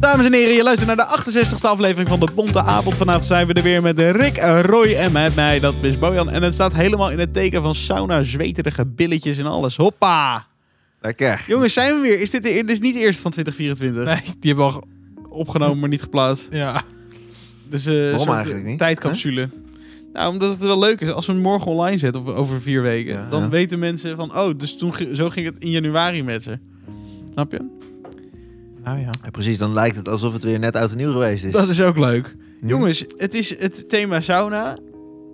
dames en heren. Je luistert naar de 68e aflevering van de Bonte Avond. Vanavond zijn we er weer met Rick, Roy en met mij. Dat is Bojan. En het staat helemaal in het teken van sauna, zweterige billetjes en alles. Hoppa! Lekker. Jongens, zijn we weer. Is dit, de, dit is niet de eerste van 2024. Nee, die hebben we al... ge- Opgenomen, maar niet geplaatst. Ja. Dus eh een soort eigenlijk niet? tijdcapsule. Nou, omdat het wel leuk is. Als we hem morgen online zetten, of over vier weken, Ja. dan weten mensen van... Oh, dus toen, ge- zo ging het in januari met ze. Snap je? Nou ja. Ja, precies, dan lijkt het alsof het weer net oud en nieuw geweest is. Dat is ook leuk. Jongens, het is het thema sauna,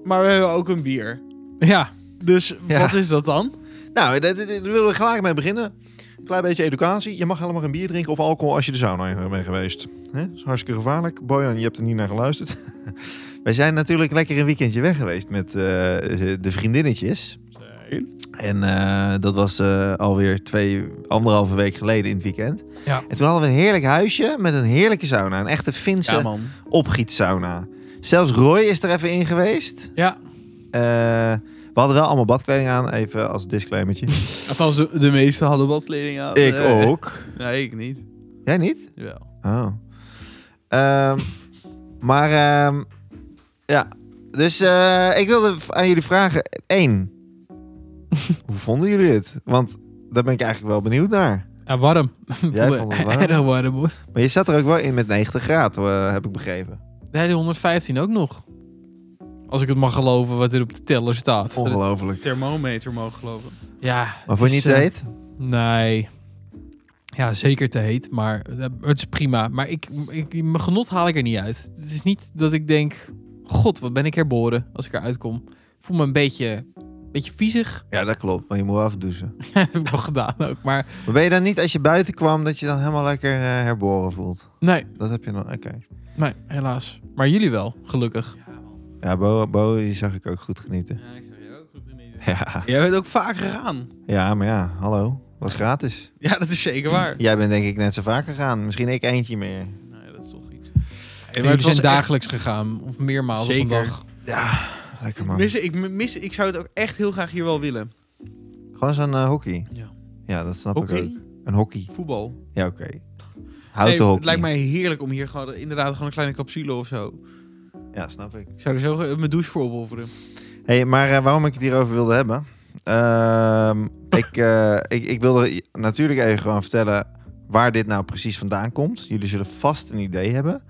maar we hebben ook een bier. Ja. Dus Ja. wat is dat dan? Nou, daar daar- daar willen we gelijk mee beginnen. Een klein beetje educatie. Je mag helemaal geen bier drinken of alcohol als je de sauna bent geweest. Hè? Dat is hartstikke gevaarlijk. Bojan, je hebt er niet naar geluisterd. Wij zijn natuurlijk lekker een weekendje weg geweest met eh, de vriendinnetjes. En eh, dat was eh, alweer twee, anderhalve week geleden in het weekend. Ja. En toen hadden we een heerlijk huisje met een heerlijke sauna. Een echte Finse Ja, man. opgietsauna. Zelfs Roy is er even in geweest. Ja. Eh, we hadden wel allemaal badkleding aan, even als disclaimertje. Althans, de, de meesten hadden wat kleding aan. ik Eh, ook. Nee, ik niet. Jij niet? Jawel. Oh. Ehm, maar ehm, ja, dus eh, ik wilde v- aan jullie vragen. Eén, hoe vonden jullie dit? Want daar ben ik eigenlijk wel benieuwd naar. Ja, warm. Jij Voelde vond het warm? Erg warm hoor. Maar je zat er ook wel in met 90 graden, eh, heb ik begrepen. Nee, die 115 ook nog. Als ik het mag geloven wat er op de teller staat. Ongelooflijk. Thermometer mogen geloven. Ja. Maar vond je niet het te is, eh, heet? Nee. Ja, zeker te heet, maar eh, het is prima. Maar ik, ik, mijn genot haal ik er niet uit. Het is niet dat ik denk, god, wat ben ik herboren als ik eruit kom. Ik voel me een beetje, beetje viezig. Ja, dat klopt. Maar je moet wel afdouchen. heb ik wel gedaan ook, maar Maar ben je dan niet als je buiten kwam dat je dan helemaal lekker eh, herboren voelt? nee, Dat heb je dan, oké. nee, helaas. Maar jullie wel, gelukkig. Ja, Bo, Bo die zag ik ook goed genieten. Ja, ik zag je ook goed in Ja, Jij bent ook vaak gegaan. ja maar ja, hallo. Was gratis. Ja, dat is zeker waar. Jij bent denk ik net zo vaak gegaan. Misschien ik eentje meer. Nee, dat is toch iets. En jullie zijn dagelijks gegaan, of meermaals op Zeker. een dag. Ja, lekker man. Mis, ik, mis, ik zou het ook echt heel graag hier wel willen. Gewoon zo'n eh, hockey. Ja. Ja, dat snap Oké, ik ook. Een hockey. voetbal. Ja, oké. Nee, Houten het hockey. lijkt mij heerlijk om hier gewoon, inderdaad gewoon een kleine capsule of zo. Ja, snap ik. Ik zou er zo eh, mijn douche voor opofferen. hey, maar eh, waarom ik het hierover wilde hebben? Ehm, ik, eh, ik, ik wilde je natuurlijk even gewoon vertellen waar dit nou precies vandaan komt. Jullie zullen vast een idee hebben.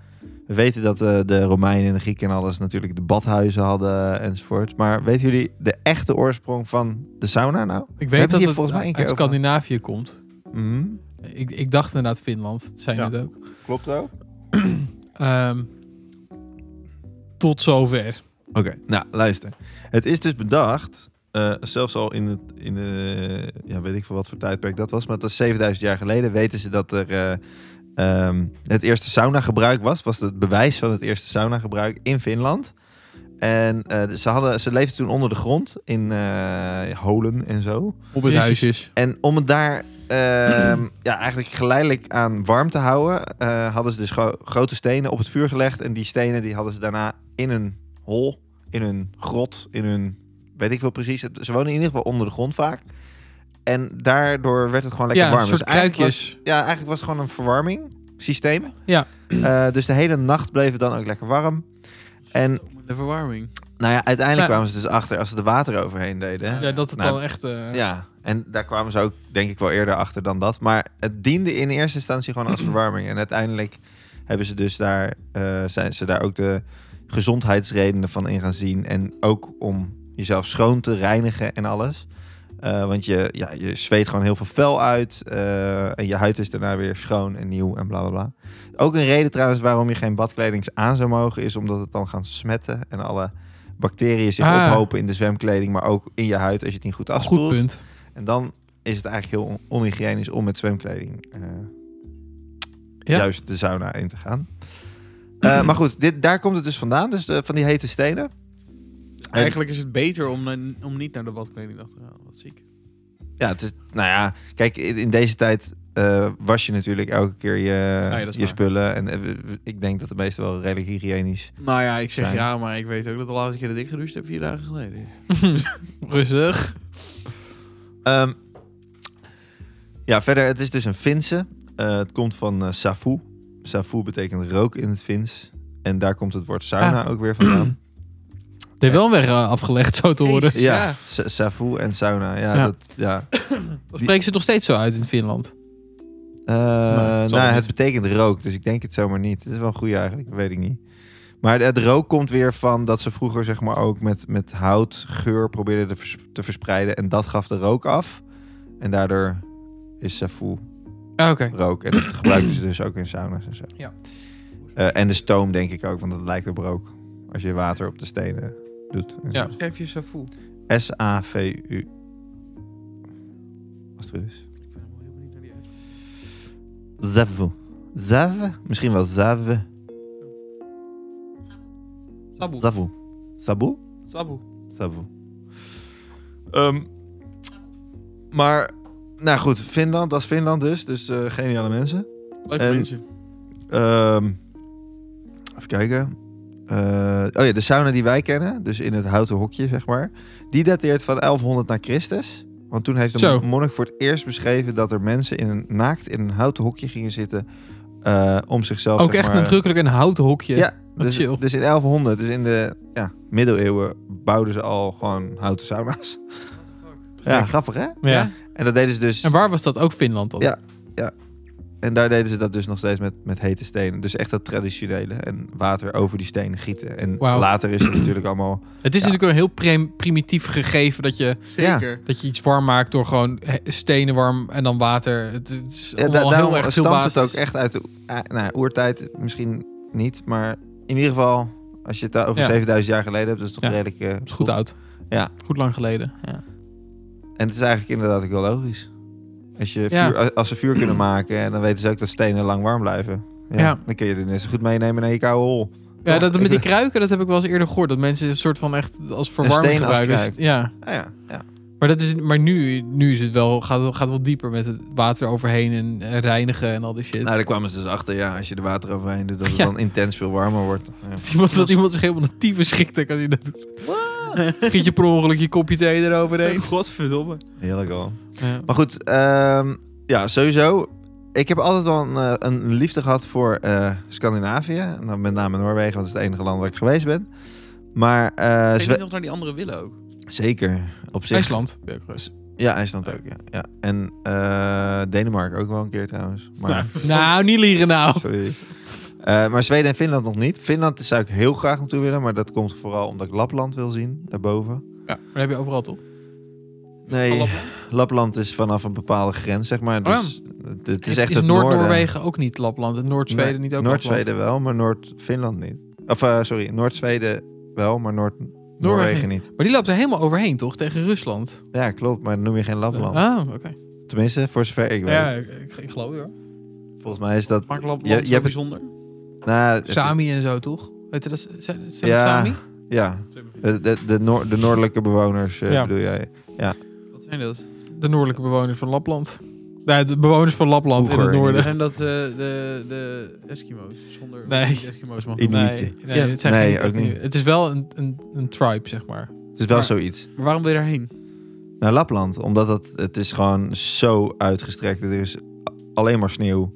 We weten dat eh, de Romeinen en de Grieken en alles natuurlijk de badhuizen hadden enzovoort. Maar weten jullie de echte oorsprong van de sauna nou? Ik hebben weet hier dat het volgens mij één uit keer over gehad. Scandinavië komt. Mhm. Ik, ik dacht inderdaad Finland, dat zijn Ja. het ook. Klopt ook. Oké, Ehm, tot zover. nou luister. Het is dus bedacht, eh, zelfs al in het, in, eh, ja, weet ik veel wat voor tijdperk dat was, maar dat was 7000 jaar geleden, weten ze dat er eh, ehm, het eerste saunagebruik was. Was het bewijs van het eerste saunagebruik in Finland. En eh, ze, hadden, ze leefden toen onder de grond in eh, holen en zo. Op het huisjes. En om het daar ehm, ja, eigenlijk geleidelijk aan warm te houden, eh, hadden ze dus gro- grote stenen op het vuur gelegd. En die stenen die hadden ze daarna in hun hol, in hun grot, in hun. weet ik veel precies. Het- Ze wonen in ieder geval onder de grond vaak. En daardoor werd het gewoon lekker Ja, warm. een soort Dus eigenlijk kruikjes. was- ja, eigenlijk was het gewoon een verwarming systeem. Ja. Eh, dus de hele nacht bleef het dan ook lekker warm. En De verwarming. nou ja, uiteindelijk Ja. kwamen ze dus achter als ze de water overheen deden. hè. Ja, dat het Nou, dan echt... eh, Ja, en daar kwamen ze ook denk ik wel eerder achter dan dat. Maar het diende in eerste instantie gewoon als verwarming. En uiteindelijk hebben ze dus daar, eh, zijn ze daar ook de gezondheidsredenen van in gaan zien. En ook om jezelf schoon te reinigen en alles. Eh, want je, ja, je zweet gewoon heel veel vel uit. eh, en je huid is daarna weer schoon en nieuw en bla bla bla. Ook een reden trouwens waarom je geen badkleding aan zou mogen, is omdat het dan gaan smetten en alle bacteriën zich Ah. ophopen in de zwemkleding, maar ook in je huid als je het niet goed afspoelt. Goed punt. En dan is het eigenlijk heel on- onhygiënisch om met zwemkleding eh, Ja. juist de sauna in te gaan. Eh, maar goed, dit, daar komt het dus vandaan, dus de- van die hete stenen. En- Eigenlijk is het beter om, na- om niet naar de badkleding te gaan. Wat ziek. Ja, het is, nou ja, kijk, in in deze tijd eh, was je natuurlijk elke keer je, ja, dat is je waar. spullen. En eh, we- we- ik denk dat de meesten wel redelijk hygiënisch. Nou ja, ik zeg Zijn. ja, maar ik weet ook dat de laatste keer dat ik gedoucht heb vier dagen geleden is. Rustig. Ehm, ja, verder, het is dus een Finse. Eh, het komt van eh Safu. Safu betekent rook in het Fins. En daar komt het woord Ah. sauna ook weer vandaan. Het heeft wel een weg eh, afgelegd, zo te horen. Ja, sa- Safu en sauna. Ja, Ja. Dat, ja. Of Spreken ze het nog steeds zo uit in Finland? Eh, het zal nou, niet. het betekent rook, dus ik denk het zomaar niet. Het is wel een goede eigenlijk, weet ik niet. Maar het rook komt weer van dat ze vroeger zeg maar ook met, met houtgeur probeerden te, vers- te verspreiden. En dat gaf de rook af. En daardoor is Safu Ah, Oké. rook. En dat gebruikten ze dus ook in sauna's en zo. Ja. Eh, en de stoom denk ik ook, want dat lijkt op rook. Als je water op de stenen doet. en Ja. zo. Schrijf Dus je Safu. S-A-V-U. Als het goed is. Zavu. Zave? Misschien wel zave. Sabu. Zavu. Sabu? Sabu. Sabu. Ehm, maar, nou goed, Finland, dat is Finland dus. Dus eh, geniale mensen. Leuke En- mensen. Ehm, even kijken. Eh, oh ja, de sauna die wij kennen, dus in het houten hokje, zeg maar. Die dateert van 1100 na Christus. Want toen heeft de Zo. monnik voor het eerst beschreven dat er mensen in een, naakt in een houten hokje gingen zitten. eh, om zichzelf Ook zeg echt maar, eh, nadrukkelijk een houten hokje. Ja, Wat dus, chill. dus in 1100, dus in de ja, middeleeuwen, bouwden ze al gewoon houten sauna's. Ja, grappig hè? Ja. Ja. En dat deden ze dus. En waar was dat? Ook Finland dan? Ja. En daar deden ze dat dus nog steeds met, met hete stenen. Dus echt dat traditionele. En water over die stenen gieten. En Wauw. later is het natuurlijk allemaal... Het is Ja. natuurlijk een heel prim- primitief gegeven dat je, Zeker. dat je iets warm maakt door gewoon he- stenen warm en dan water. Het, het is Ja, da- allemaal heel daarom erg veel stamt het ook basis. echt uit de eh, nou, ja, oertijd. Misschien niet, maar in ieder geval... Als je het daar over Ja. 7000 jaar geleden hebt, dat is toch Ja. redelijk... eh, Het is goed oud. Ja. Goed lang geleden. Ja. En het is eigenlijk inderdaad ook wel logisch. Als, je Ja. vuur, als- als ze vuur kunnen maken, en dan weten ze ook dat stenen lang warm blijven. Ja, Ja. Dan kun je dit net zo goed meenemen naar je koude hol. Ja, Toch? dat Ik- met die kruiken, dat heb ik wel eens eerder gehoord. Dat mensen een soort van echt als verwarming steen als gebruiken. Dus- kruik. ja. Ah ja, ja. Maar, dat is, maar nu, nu is het wel, gaat, het- gaat het wel dieper met het water overheen en eh, reinigen en al die shit. Nou, daar kwamen ze dus achter, ja, als je er water overheen doet, dat het Ja. dan intens veel warmer wordt. Ja. dat, iemand, dat iemand zich helemaal naar tyfus schikt als je dat doet. Giet je per ongeluk je kopje thee Nee, eroverheen. godverdomme. Heerlijk al. Ja. Maar goed, ehm, ja, sowieso. Ik heb altijd wel een, eh, een liefde gehad voor eh, Scandinavië. En dan met name Noorwegen, want dat is het enige land waar ik geweest ben. Maar eh, Geef je Zwe- nog naar die andere willen ook. zeker, op zich. IJsland. Ja, correct. Ja, IJsland ook, ja. ja. En eh, Denemarken ook wel een keer trouwens. Maar, Nou, niet liegen nou. sorry. Eh, maar Zweden en Finland nog niet. Finland zou ik heel graag naartoe willen, maar dat komt vooral omdat ik Lapland wil zien, daarboven. Ja, maar dat heb je overal toch? Nee, Lapland? Lapland is vanaf een bepaalde grens, zeg maar. Oh ja. Dus het, het is echt is het noorden. Noord-Noorwegen ook niet Lapland en Noord-Zweden Nee, niet ook Noord-Zweden wel, maar Noord-Finland niet. Of eh, sorry, Noord-Zweden wel, maar Noord-Noorwegen niet. Lapland? Maar die loopt er helemaal overheen toch, tegen Rusland? Ja, klopt, maar dan noem je geen Lapland. Ah, oké. Tenminste, voor zover ik weet. Ja, ik, ik- ik geloof je hoor. Volgens mij is dat... Maakt Je- je Lapland zo hebt- bijzonder? Nou, het is- Sami en zo toch? Weet je dat? Zijn, zijn dat Ja. Sami? ja, de, de, de, noor- de noordelijke bewoners eh, Ja. bedoel jij. Wat zijn dat? De noordelijke bewoners van Lapland. Nee, de bewoners van Lapland in Vroeger, het noorden. Zijn dat eh, de, de Eskimo's? Zonder Nee. die Eskimo's mag In- niet. Nee, Inuiten. nee, het zijn Nee, geen- ook niet. Het is wel een, een, een tribe, zeg maar. Het is wel Maar- zoiets. Maar waarom wil je daarheen? Naar Lapland, omdat het, het is gewoon zo uitgestrekt. Er is a- alleen maar sneeuw.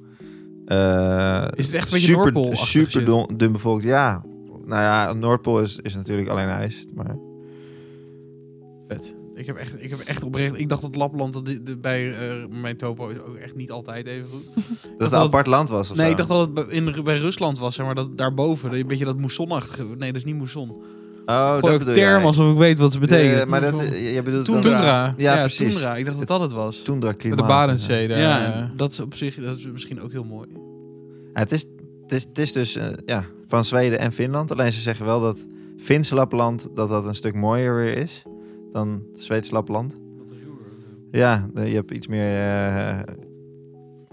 Eh, Is het echt een beetje super, Noordpoolachtig Super shit? dun, dun bevolkt, ja. Nou ja, Noordpool is, is natuurlijk alleen ijs. Maar Vet. Ik heb echt, ik heb echt oprecht. Ik dacht dat Lapland dat die- de- bij eh, mijn topo is ook echt niet altijd even goed. dat dacht het dat- een apart land was of Nee, zo. ik dacht dat het bij- in, bij Rusland was, zeg maar, dat daarboven. Een beetje dat moessonachtige. Nee, dat is niet moesson. Oh, Gooi dat ook bedoel term jij. alsof ik weet wat ze betekenen. Eh, maar dat, je bedoelt Toen- dan... Toendra. Ja, precies. Toendra. Ik dacht dat dat het was. Toendra Bij klimaat. de Barentszee daar. ja, Oh, eh. en dat is op zich dat is misschien ook heel mooi. Ja, het, is, het, is, het is dus eh, ja, van Zweden en Finland. Alleen ze zeggen wel dat Fins Lapland dat dat een stuk mooier weer is dan Zweeds Lapland. Ja, de- je hebt iets meer. eh,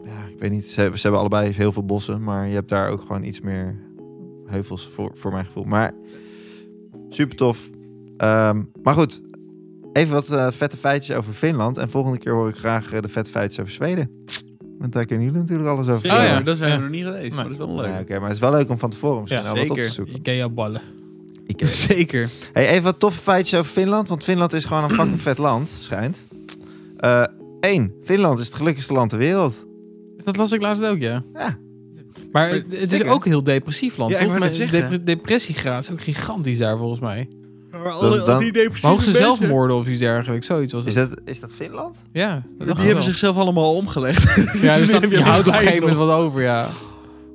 ja, ik weet niet. Ze, hebben- ze hebben allebei heel veel bossen, maar je hebt daar ook gewoon iets meer heuvels voor, voor mijn gevoel. Maar super tof. Ehm, maar goed, even wat eh, vette feitjes over Finland. En volgende keer hoor ik graag eh, de vette feitjes over Zweden. Want daar kennen jullie natuurlijk alles over. Oh, vertellen. ja. ja. Daar zijn we Ja. nog niet geweest, maar dat is wel Ja, leuk. Oké, maar het is wel leuk om van tevoren misschien Ja, al wat op zeker. te zoeken. Ikea ballen. Zeker. Hey, even wat toffe feitjes over Finland. Want Finland is gewoon een fucking vet land, schijnt. Eh, Eén, Finland is het gelukkigste land ter wereld. Dat las ik laatst ook, ja. Ja. Maar het is Zeker. ook een heel depressief land, Ja, ik toch? wou Maar net de zeggen. dep- depressiegraad is ook gigantisch daar, volgens mij. Maar Dan- alle, al dan- die Maar depressieve hoogste mensen, zelfmoorden of iets dergelijks, zoiets was Is het. dat, is dat Finland? Ja, dat Die dacht ik hebben wel. zichzelf allemaal omgelegd. Ja, dus dan, heb je je houdt op een bijna gegeven moment wat over, ja.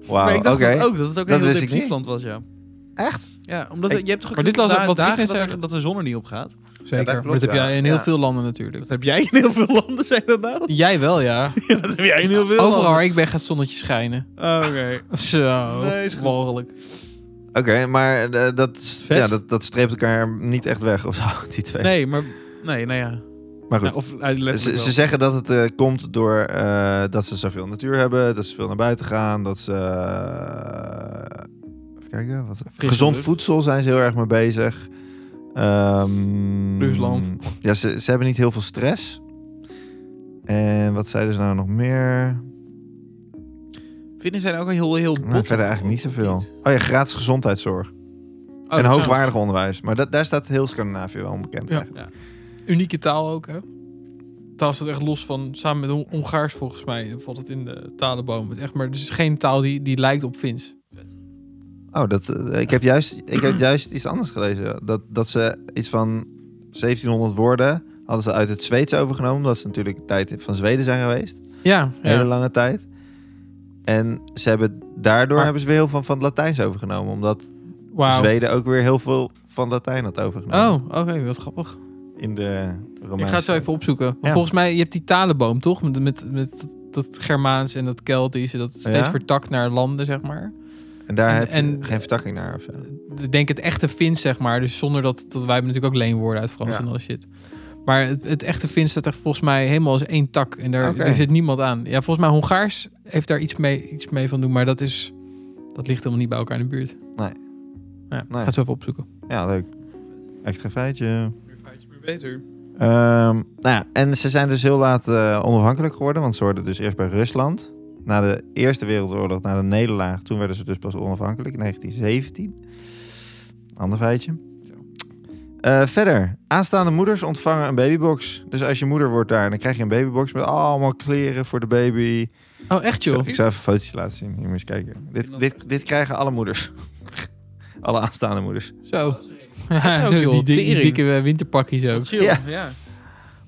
Wauw, Maar ik oké. dacht dat ook, dat het ook Dat een heel wist ik depressief niet. land was, ja. Echt? Ja, omdat Ik- je hebt toch ook Maar dit was da- wat ik dagen net dat, zei. er- dat de zon er niet op gaat. Zeker. dat Maar klopt, dat heb ja. jij in heel Ja. veel landen natuurlijk. Dat heb jij in heel veel landen, zei dat nou? Jij wel, ja. Ja, dat heb jij in heel veel Overal landen. waar ik ben gaat het zonnetje schijnen. Oh, Oké. Zo, Nee, is goed. mogelijk. Oké, maar eh, dat, is- Vet. ja, dat, dat streept elkaar niet echt weg of zo, die twee. Nee, maar... Nee, nou ja. maar goed. Nou, of eh, letterlijk Ze, wel. ze zeggen dat het eh, komt door eh, dat ze zoveel natuur hebben, dat ze veel naar buiten gaan, dat ze. eh, even kijken, wat, Frisse gezond dus. lucht. voedsel zijn ze heel erg mee bezig. Ehm, Rusland. Ja, ze, ze hebben niet heel veel stress. En wat zeiden ze nou nog meer? Vinden zijn ook een heel, heel Nou, bot. verder eigenlijk niet zoveel. Oh ja, gratis gezondheidszorg. Oh, en zo. hoogwaardig onderwijs. Maar dat, daar staat heel Scandinavië wel onbekend. Ja. eigenlijk. Unieke taal ook, hè? Taal staat echt los van, samen met Hon- Hongaars volgens mij, valt het in de talenboom. Het is Echt, maar er is geen taal die, die lijkt op Fins. Oh, dat, eh, ik, heb juist, ik heb juist iets anders gelezen. Dat, dat ze iets van 1700 woorden hadden ze uit het Zweeds overgenomen. Omdat ze natuurlijk de tijd van Zweden zijn geweest. Ja, Hele ja. lange tijd. En ze hebben, daardoor Maar- hebben ze weer heel veel van het Latijns overgenomen. Omdat wauw. Zweden ook weer heel veel van Latijn had Oh, overgenomen. oké, wat grappig. In de Romeinse. Ik ga het zo even opzoeken. Want Ja. volgens mij, je hebt die talenboom, toch? Met, met, met dat Germaans en dat Keltisch en dat steeds Ja? vertakt naar landen, zeg maar. En daar en- heb je en- geen vertakking naar of zo. Ik denk het echte Fins, zeg maar. Dus zonder dat, dat wij hebben natuurlijk ook leenwoorden uit Frans Ja. en al dat shit. Maar het, het echte Fins staat echt volgens mij helemaal als één tak. En daar, Oké. daar zit niemand aan. Ja, volgens mij Hongaars heeft daar iets mee, iets mee van doen. Maar dat is... Dat ligt helemaal niet bij elkaar in de buurt. Nee. Ja, Ik Nee. ga het zo even opzoeken. Ja, leuk. Extra feitje. beter. Ehm, nou ja, en ze zijn dus heel laat eh, onafhankelijk geworden, want ze hoorden dus eerst bij Rusland. Na de Eerste Wereldoorlog, na de nederlaag, toen werden ze dus pas onafhankelijk in 1917. Ander feitje. Eh, verder, aanstaande moeders ontvangen een babybox. Dus als je moeder wordt daar, dan krijg je een babybox met allemaal kleren voor de baby. Oh, echt Ik joh? zal- Ik zou even fotootjes laten zien, hier moet je eens kijken. Dit, dit, dit krijgen alle moeders. alle aanstaande moeders. Zo. Dat is ook Zo, een joh, die, die tering. dikke eh, winterpakjes ook. Dat scheelt, Ja. ja.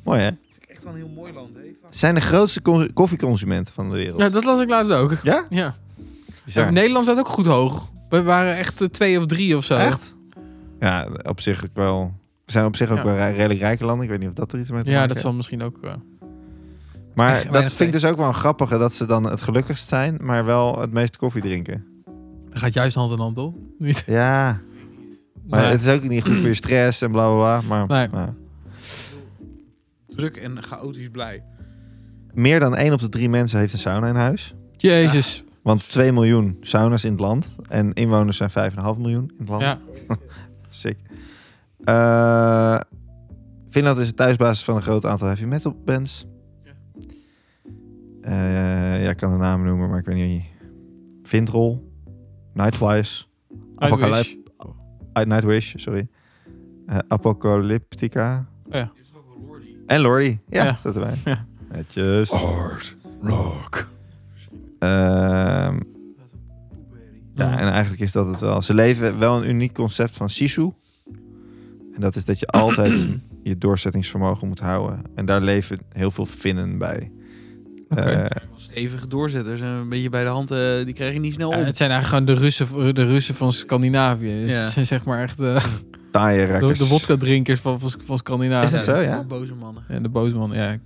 Mooi hè? Het is echt wel een heel mooi land, hè. Fuck. Zijn de grootste con- koffieconsumenten van de wereld. Ja, dat las ik laatst ook. Ja? Ja. Bizar. Ja, Nederland staat ook goed hoog. We waren echt eh, twee of drie of zo. Echt? Ja, op zich ook wel. We zijn op zich ook Ja. wel rij- redelijk rijke landen. Ik weet niet of dat er iets mee te Ja, maken dat heeft. zal misschien ook... eh, Maar Echt dat weinig vind ik dus ook wel een grappige dat ze dan het gelukkigst zijn, maar wel het meeste koffie drinken. dat gaat juist hand in hand op. Niet. Ja, maar Nee. het is ook niet goed voor je stress en bla bla bla. Maar Nee. nou, Druk en chaotisch blij. meer dan één op de drie mensen heeft een sauna in huis. Jezus. Want 2 miljoen sauna's in het land en inwoners zijn 5,5 miljoen in het land. Ja. Sick. Eh, Finland is de thuisbasis van een groot aantal heavy metal bands. Ja. Eh, ja, ik kan de namen noemen, maar ik weet niet. Vindrol, Nightflies, Apocalypse. Uitwish. eh, Nightwish, sorry. Eh, Apocalyptica. Oh Ja. En Lordy. Ja, Ja. staat erbij. Ja. Netjes. Hard rock. Ehm, Ja, Ja. en eigenlijk is dat het wel. Ze leven wel een uniek concept van Sisu. En dat is dat je altijd je doorzettingsvermogen moet houden. En daar leven heel veel Finnen bij. Oké. Eh, Stevige doorzetters en een beetje bij de hand, eh, die krijg je niet snel Ja, op. het zijn eigenlijk gewoon de Russen, de Russen van Scandinavië. Dus Ja. Het zijn zeg maar echt eh, taaie de, rakkers. de vodka-drinkers van, van, van Scandinavië. Is dat zo, ja? Boze mannen. En de boosman, ja. Ik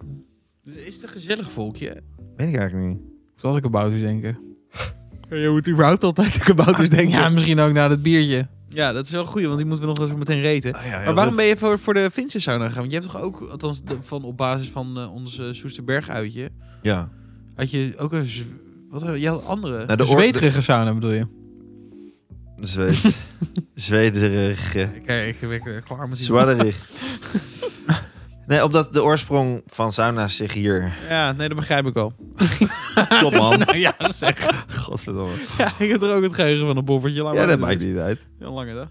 Dus is het een gezellig volkje? Weet ik eigenlijk niet. zal ik about denken. Je moet überhaupt altijd kabouters Ja, misschien ook na dat biertje. Ja, dat is wel goed, want die moeten we nog wel zo meteen reten. maar waarom ben je voor, voor de Finse sauna gegaan? Want je hebt toch ook, althans de- van, op basis van eh, ons eh, Soesterberg uitje, Ja. had je ook een... Zw- Wat, eh, je had andere. Nou, De de oor- zweterige sauna bedoel je? de- Zweed. Zwederig. Ik, eh, ik, ik, ik klaar met die- Zwadderig. Nee, omdat de oorsprong van sauna's zich hier... Ja, nee, dat begrijp ik wel. Top man. nou ja, zeg. Godverdomme. Ja, ik heb er ook het geheugen van een boffertje. Laat Ja, maar dat doen. maakt niet uit. Een lange dag.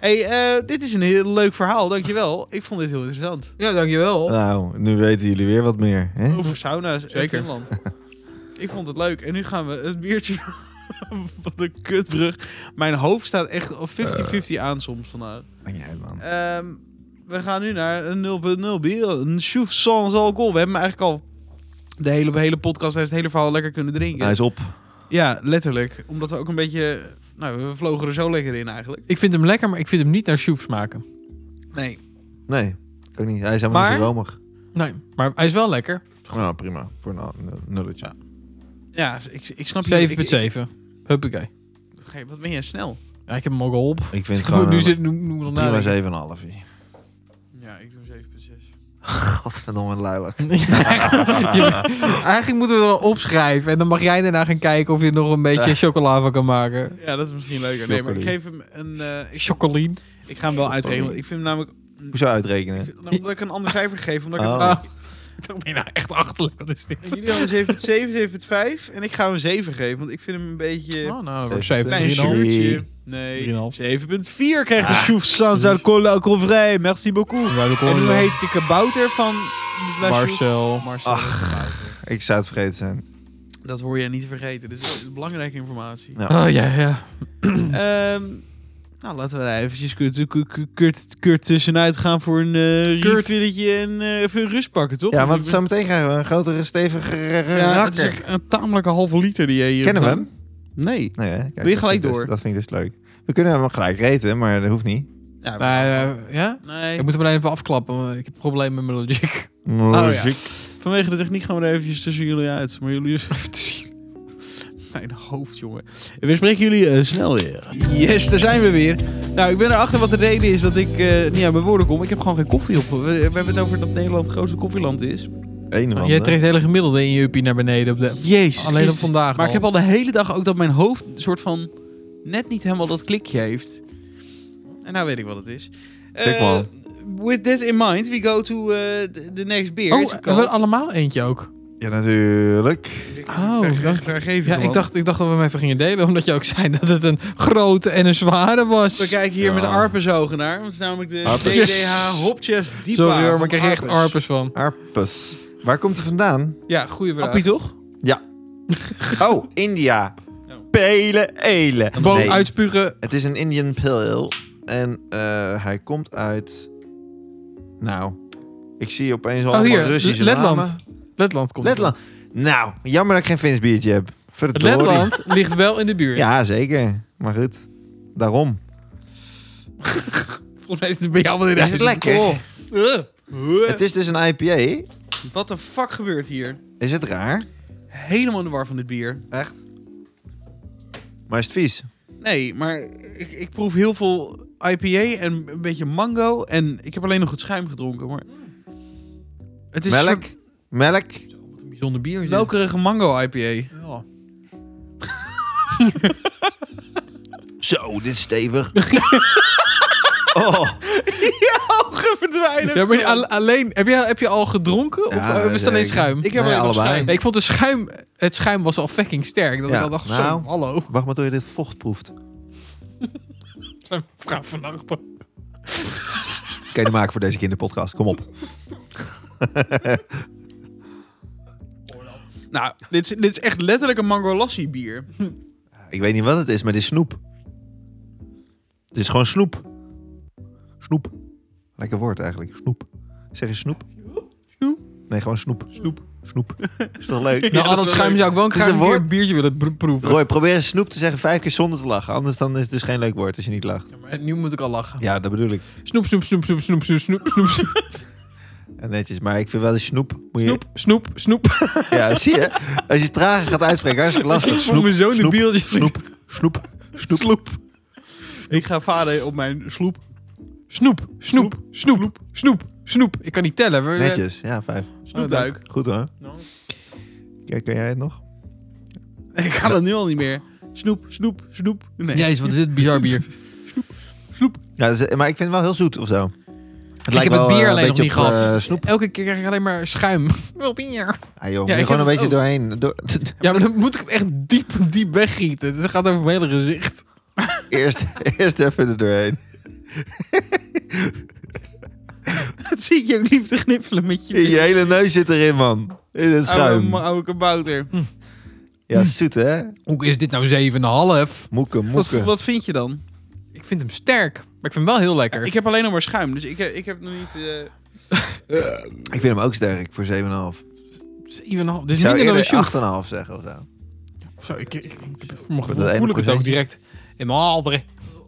hey, eh, dit is een heel leuk verhaal, dankjewel. Ik vond dit heel interessant. Ja, dankjewel. Nou, nu weten jullie weer wat meer. Hè? Over sauna's in Zeker. Finland. Ik vond het leuk. En nu gaan we het biertje Wat een kutbrug. Mijn hoofd staat echt op 50-50 aan soms vandaag. Maakt niet uit, man. Ehm, we gaan nu naar een 0.0 bier. Een chouf sans alcohol. We hebben hem eigenlijk al de hele, hele podcast, het hele verhaal lekker kunnen drinken. Hij is op. Ja, letterlijk. Omdat we ook een beetje... Nou, we vlogen er zo lekker in eigenlijk. Ik vind hem lekker, maar ik vind hem niet naar shoef smaken. Nee. Nee, ook niet. Hij is helemaal Maar- niet zo romig. Nee, maar hij is wel lekker. 7,7. Nou, prima. Voor een nul- nulletje. Ja, ik, ik snap je. ik- ik- Huppakee. Hey, Wat ben jij snel? Ja, ik heb hem ook al op. Ik vind Dus het gewoon nu een zit nu, nu nog prima nadenken. 7,5. Ja, ik doe 7,6. Godverdomme, luilak. Ja, Eigenlijk moeten we er wel opschrijven. En dan mag jij daarna gaan kijken of je er nog een beetje chocola van kan maken. Ja, dat is misschien leuker. Nee, maar ik geef hem een... eh, ik, Chocoline. ik ga hem wel uitrekenen. want Ik vind hem namelijk... Hoezo uitrekenen? Nou, omdat ik een ander cijfer geef. Omdat ik Oh. het- Ah, Dan ben je nou echt achterlijk. Wat is dit? En jullie hadden 7,7, 7,5. En ik ga hem een 7 geven. Want ik vind hem een beetje... Oh, nou, wordt Klein 3,5. zuurtje. Drie Nee. en een Ah. half. 7,4 krijgt de Chouf Sans Alcool Alcoolvrij. Merci beaucoup. En hoe heet de kabouter van de La Chouf? eh, Marcel. Marcel. Ik zou het vergeten zijn. Dat hoor jij niet te vergeten. Dit is belangrijke informatie. Ja. Oh ja, ja. Ehm, nou, laten we daar eventjes kurt, kurt, kurt, kurt tussenuit gaan voor een eh revilletje en eh, even rust pakken, toch? Ja, want ik- zometeen krijgen we een grotere, stevige ja, het is rakker. echt Eh, een tamelijke halve liter die jij hier... Kennen we hem? Nee. Nee, hè? Kijk, Wil je dat gelijk vind ik dus- door? dat vind ik dus leuk. We kunnen hem gelijk reten, maar dat hoeft niet. Ja, Maar, eh, ja? nee. Ik moet hem alleen even afklappen, want ik heb problemen met mijn logic. Oh, Logic. Vanwege de techniek gaan we er eventjes tussen jullie uit. Maar jullie... Dus Mijn hoofd, jongen. We spreken jullie eh, snel weer. Yes, daar zijn we weer. Nou, ik ben erachter wat de reden is dat ik eh, niet aan mijn woorden kom. Ik heb gewoon geen koffie op. We, we hebben het over dat Nederland het grootste koffieland is. Een of Jij ander. trekt het hele gemiddelde in je uppie naar beneden. Op de... Jezus Alleen op Christus. vandaag Maar ik al. heb al de hele dag ook dat mijn hoofd een soort van net niet helemaal dat klikje heeft. En nou weet ik wat het is. Tik Eh, wel. with that in mind, we go to eh, the, the next beer. Oh, It's we a hebben cult. allemaal eentje ook. Ja, natuurlijk. Oh, Daar- dank je. daar geef Ja, hem ik op. dacht, ik dacht dat we hem even gingen delen, omdat je ook zei dat het een grote en een zware was. We kijken hier Ja. met arpenzogen naar. Want het is namelijk de Arpes. DDH Hopchest Diepa. Sorry hoor, maar van ik krijg hier echt Arpes. arpers van. Arpus. Waar komt het vandaan? Ja, goede vraag. Appie toch? Oh, India. Oh. Pele ele. Boom, Nee, uitspugen. Het is een Indian Pale Ale. En eh, hij komt uit... Nou, ik zie opeens al Oh, allemaal hier, Russische Letland. namen. Letland komt. Letland. Nou, jammer dat ik geen Fins biertje heb. Het Verdorie. Letland ligt wel in de buurt. Ja, zeker. Maar goed, daarom. Volgens mij is het bij jou wel in de Is het huis. lekker? Oh. Het is dus een IPA. Wat de fuck gebeurt hier? Is het raar? Helemaal in de war van dit bier. Echt? Maar is het vies? Nee, maar ik, ik proef heel veel IPA en een beetje mango. En ik heb alleen nog het schuim gedronken, maar... Het is een Melk? soort Melk? Wat een bijzonder bier is dit. melkerige mango IPA. Ja. Zo, dit is stevig. oh, Ogen verdwijnen. Ja, maar die- al- alleen, heb je, heb je al gedronken? Of Ja, eh, is het alleen zeker. schuim? Ik heb Nee, alleen nog allebei. schuim. Nee, ik vond de schuim, het schuim was al fucking sterk. Dat Ja, ik al dacht, nou. zo, hallo. wacht maar tot je dit vocht proeft. Kan Zijn vrouw vannacht toch? je nou maken voor deze kinderpodcast? Kom op. Nou, dit is, dit is echt letterlijk een mango lassi bier. Ik weet niet wat het is, maar dit is snoep. Het is gewoon snoep. Snoep. Lekker woord eigenlijk. Snoep. Zeg je snoep? Snoep. Nee, gewoon snoep. Snoep. Snoep. Is toch leuk? Nou, al dat schuim zou ik wel een Het is graag een een keer woord. een biertje willen br- proeven. Roy, probeer eens snoep te zeggen vijf keer zonder te lachen. Anders dan is het dus geen leuk woord als je niet lacht. Ja, maar nu moet ik al lachen. Ja, dat bedoel ik. Snoep, snoep, snoep, snoep, snoep, snoep, snoep, snoep, snoep, En netjes, maar ik vind wel de snoep. Moet je... snoep, snoep. Ja, zie je? Als je het trager gaat uitspreken, hartstikke lastig. Voor Snoep, mijn zoon een snoep, biertje. snoep, snoep, snoep. Ik ga vader op mijn sloep. Snoep, snoep, snoep, snoep, snoep. Ik kan niet tellen. Oh, We- Netjes, ja, vijf. Snoepduik. Goed hoor. Nou. Kijk, kan jij het nog? Ik ga dat nu al niet meer. Snoep, snoep, snoep. Nee. Jezus, wat is dit bizar bier. Ja, dat is- maar ik vind het wel heel zoet of zo. Het heb het bier eh, alleen nog niet gehad. snoep. Elke keer krijg ik alleen maar schuim. Wel bier. Ah, joh, moet ik je heb gewoon het een beetje ook. doorheen. Door, Ja, maar dan moet ik hem echt diep, diep weggieten. Het gaat over mijn hele gezicht. eerst, eerst even er doorheen. Het zie je ook lief te kniffelen met je Oh, Je hele neus zit erin, man. In het oude, schuim. oude kabouter. Ja, zoet hè? Hoe is dit nou 7,5? Moeken, Wat, moeken. wat vind je dan? Ik vind hem sterk, maar ik vind hem wel heel lekker. Ik heb alleen nog maar schuim, dus ik, heb- ik heb nog niet... eh, Eh, Ik vind hem ook sterk voor 7,5. Ik 7,5. Dit is zou minder dan een eerder shoe. 8,5 zeggen of zo. Zo, ik, ik, ik, voor mijn dat gevoel ene voel ik het ook procentje. direct. In mijn halderen.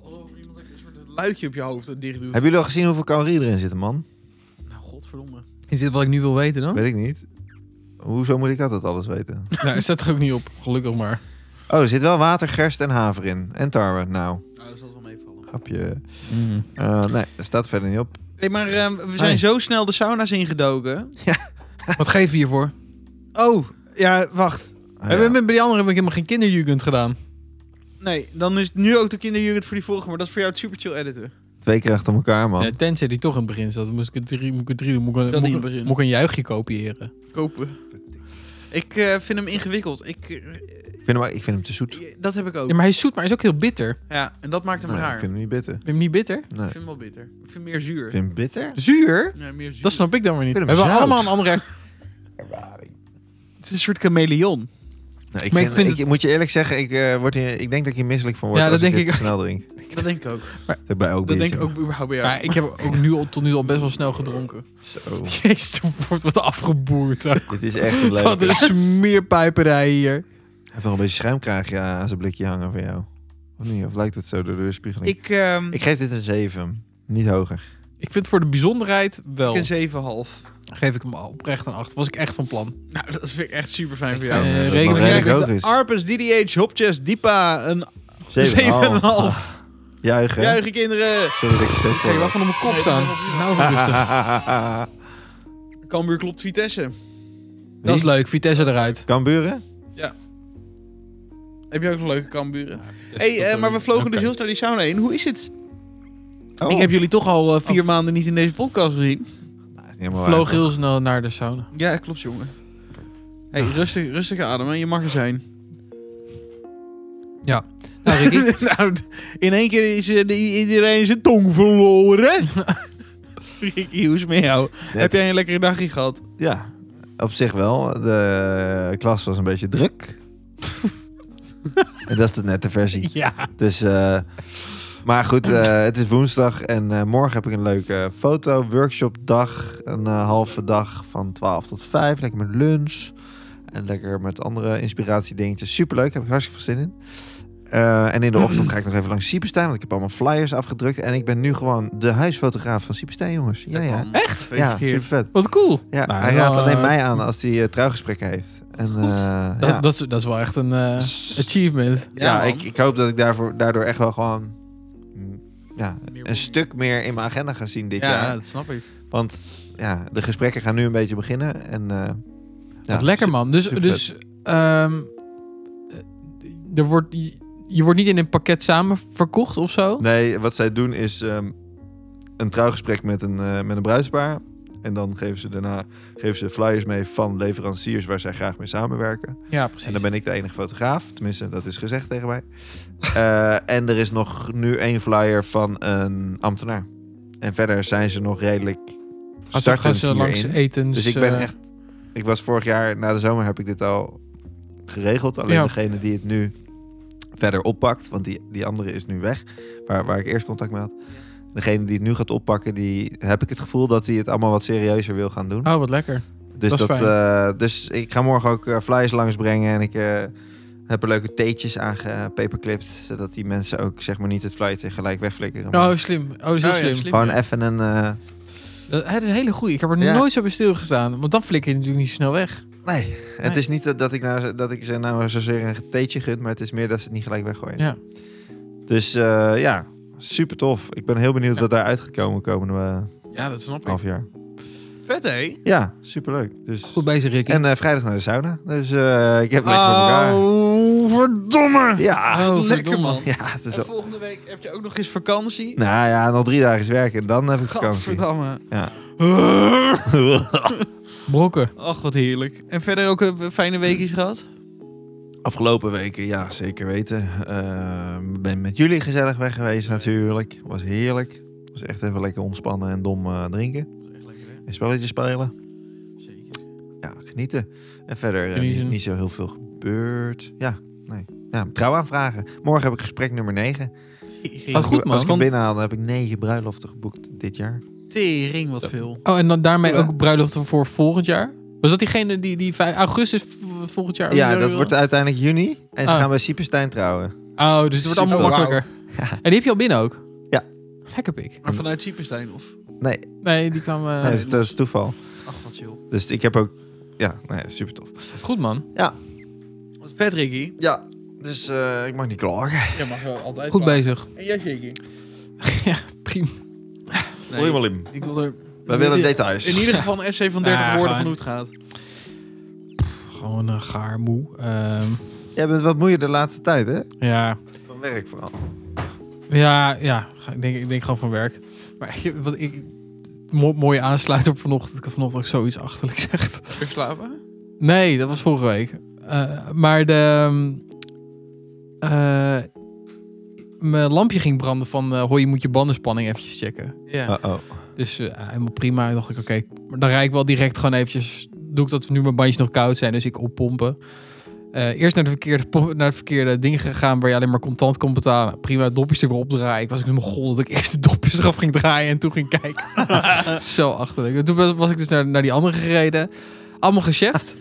het luikje op je hoofd dat dicht doet. Hebben jullie al gezien hoeveel calorieën erin zitten, man? Nou, godverdomme. Is dit wat ik nu wil weten dan? Weet ik niet. Hoezo moet ik altijd alles weten? Nou, zet er ook niet op, gelukkig maar. Oh, er zit wel water, gerst en haver in. En tarwe. Nou, Nou, dat zal wel meevallen. grapje. Mm. Eh, nee, dat staat verder niet op. Hey, maar ehm, we zijn Hey. zo snel de sauna's ingedoken. Wat geef je hiervoor? Oh, ja, wacht. Ah, Bij- Nou ja. Bij bij die andere heb ik helemaal geen kinderjugend gedaan. Nee, dan is het nu ook de kinderjugend voor die volgende, maar dat is voor jou het super chill editen. Twee keer achter elkaar, man. Ja, tenzij die toch in het begin zat. Moest ik het drie, moet ik het drie doen? Moet ik, Dat een- in het moet, ik, begin. moet ik een juichje kopiëren? Kopen. Ik eh, vind hem ingewikkeld. Ik, eh, Ik, vind hem, ook- ik vind hem te zoet. dat heb ik ook. Ja, maar hij is zoet, maar hij is ook heel bitter. Ben Ja, en dat maakt hem Nee, Nou ik raar. vind hem niet bitter. je hem niet bitter? Nee. Ik vind hem wel bitter. Ik vind hem meer Ik zuur. vind hem bitter? Zuur? Ja, meer zuur. Dat nou- snap ik dan weer niet. Ik We vind hem hebben zout. allemaal een andere... Het is een soort chameleon. Nou, ik, Maar vind, ik vind ik- moet je eerlijk zeggen, ik, eh, word hier, ik denk dat ik hier misselijk van word Ja, als dat ik denk dit ik te snel drink. Dat denk ik ook. Dat heb ik bij ook Dat biertje. denk ik ook überhaupt bij jou. Maar ik heb ook nu, al- tot nu al best wel snel gedronken. Zo, Jezus, toen wordt wat afgeboerd. ook. dit is echt een Wat leuke. een smeerpijperij hier. Hij heeft nog een beetje schuimkraagje aan zijn blikje hangen van jou. Of niet? Of lijkt het zo door de weerspiegeling? Ik, Ik, ehm, geef dit een 7. Niet hoger. Ik vind voor de bijzonderheid wel. ik een 7,5. Geef ik hem al oprecht een 8. Was ik echt van plan. Nou, dat vind ik echt super fijn Ik voor vind jou. eh, dat het rekenen nog we redelijk eigenlijk hoog is. Arpes, DDH, Hopchess, Diepa, een 7,5. Juichen. Juichen kinderen! Sorry dat ik je steeds Kijk, wel voor... van op mijn kop staan. Nou, Ah, even rustig. Cambuur klopt Vitesse. Dat is leuk. Vitesse eruit. Kamburen? Heb je ook nog leuke Camburen? hey, eh, maar we vlogen dus heel snel die sauna in. Hoe is het? Oh. Ik heb jullie toch al eh, vier maanden niet in deze podcast gezien. Ah, is niet helemaal We waar, vlogen toch? heel snel naar de sauna. Ja, klopt jongen. Hey, rustig, rustig ademen. Je mag er zijn. Nou, Ricky. nou, d- in één keer is eh, de- iedereen zijn tong verloren. Ricky, hoe is het met jou? Heb jij een lekkere dagje gehad? Ja, op zich wel. De klas was een beetje druk. en dat is de nette versie. Ja. Dus, eh, maar goed, eh, het is woensdag en eh, morgen heb ik een leuke foto-workshopdag. Een eh, halve dag van 12 tot 5. Lekker met lunch. En lekker met andere inspiratiedingetjes. Superleuk, heb ik hartstikke veel zin in. Eh, en in de ochtend ga ik nog even langs Siepenstein, want ik heb allemaal flyers afgedrukt. En ik ben nu gewoon de huisfotograaf van Siepenstein, jongens. Ja, ja. Ja, Echt? super Gefeliciteerd. vet. Wat cool. Ja, Nou, hij wel, raadt alleen eh, mij aan als hij eh, trouwgesprekken heeft. En, Goed. eh, Dat, ja. dat, is, dat is wel echt een eh, achievement. ja, Ja, man. ik, ik hoop dat ik daarvoor, daardoor echt wel gewoon mm, ja, een stuk meer in mijn agenda ga zien dit jaar. dat snap ik. Want ja, de gesprekken gaan nu een beetje beginnen. En, eh, ja, Wat lekker, man. Dus, super dus ehm, eh, er wordt, je- je wordt niet in een pakket samen verkocht of zo? Nee, wat zij doen is ehm, een trouwgesprek met een, eh, met een bruidspaar. En dan geven ze daarna geven ze flyers mee van leveranciers waar zij graag mee samenwerken. Ja, precies. En dan ben ik de enige fotograaf. Tenminste, dat is gezegd tegen mij. Eh, en er is nog nu één flyer van een ambtenaar. En verder zijn ze nog redelijk Gaan ze- Ah, gaan startend ze langs eh, hierin. eten. Dus ik ben echt... Ik was vorig jaar, na de zomer heb ik dit al geregeld. Alleen Ja. degene die het nu verder oppakt, want die, die andere is nu weg. Waar, waar ik eerst contact mee had. Degene die het nu gaat oppakken, die heb ik het gevoel dat hij het allemaal wat serieuzer wil gaan doen. Oh, wat lekker. Dus, Dat dat is eh, dus ik ga morgen ook eh, flyers langsbrengen. En ik eh, heb er leuke theetjes aan gepaperclipt. Zodat die mensen ook zeg maar, niet het flyertje gelijk wegflikkeren. maar Oh, slim. Oh, dat is heel Oh ja, slim. slim. gewoon even een... eh, Dat, het is een hele goeie. Ik heb er Ja. nooit zo bij stilgestaan. Want dan flikker je natuurlijk niet zo snel weg. nee. het is niet dat, dat ik, nou, dat ik ze nou zozeer een theetje gun. Maar het is meer dat ze het niet gelijk weggooien. Ja. Dus eh, ja, super tof. Ik ben heel benieuwd wat daaruit gaat komen komende eh, Ja, dat snap ik. half jaar. Vet, hé? Ja, superleuk. Dus... Goed bezig, Ricky. En eh, vrijdag naar de sauna. Dus eh, ik heb lekker voor elkaar. Oh, verdomme! Ja, Oh, Lekker, verdomme. man. ja, het is En wel- volgende week heb je ook nog eens vakantie. Nou ja, nog drie dagen is werken. en Dan heb ik vakantie. Gadverdamme. Ja. Brokken. Ach, wat heerlijk. En verder ook een fijne weekjes gehad? Afgelopen weken, ja, zeker weten. Eh, ben met jullie gezellig weg geweest natuurlijk. Was heerlijk. Was echt even lekker ontspannen en dom eh, drinken. Echt lekker, hè? En spelletjes spelen. Zeker. Eh, ja, genieten. En verder eh, Genieten. niet, niet zo heel veel gebeurd. Ja, nee. Ja, trouwaanvragen. Morgen heb ik gesprek nummer 9. Wat goed, ik, als man. ik hem binnenhaal, dan heb ik 9 bruiloften geboekt dit jaar. Tering, wat veel. Oh, en dan daarmee Ja. ook bruiloften voor volgend jaar? Was dat diegene die, die 5 augustus v- volgend jaar? Ja, dat wordt uiteindelijk juni. En ze Ah. gaan bij Siepenstein trouwen. Oh, dus het wordt allemaal Super. makkelijker. Ja. En die heb je al binnen ook? Ja. Lekker pik. Hm. Maar vanuit Siepenstein of? Nee, Nee, die kwam... eh, nee, dat, is, dat is toeval. Ach, wat chill. Dus ik heb ook... Ja, nee, super tof. Goed, man. Wat vet, Ricky. Ja, dus eh, ik mag niet klagen. Jij mag wel altijd Goed bezig. En jij, Ricky? ja, prima. Nee, Wil je maar lim. Ik wil er We willen Ja. details. in ieder geval een essay van 30 Ja, woorden gewoon. van hoe het gaat. Gewoon eh, gaar, moe. Ehm, Jij bent wat moeier de laatste tijd, hè? ja, Van werk vooral. ja, ja. Ik denk, ik denk gewoon van werk. Maar ik, wat ik... mo- Mooie aansluiter op vanochtend. Ik had vanochtend ook zoiets achterlijk zegt. Verslapen? Nee, dat was vorige week. Eh, maar de. ehm, eh, mijn lampje ging branden van. eh hoor, je moet je bandenspanning eventjes checken. Ja. Uh-oh. Dus eh, helemaal prima. Ik dacht ik, oké, maar dan rijd ik wel direct gewoon eventjes. Doe ik dat nu mijn bandjes nog koud zijn, dus ik oppompen. Eh, eerst naar de, verkeerde, po- naar het verkeerde ding gegaan waar je alleen maar contant kon betalen. Prima, dopjes er weer opdraaien. Ik was ik mijn god dat ik eerst de dopjes eraf ging draaien en toen ging kijken. Zo achterlijk. En Toen was- was ik dus naar, naar die andere gereden. Allemaal gecheft.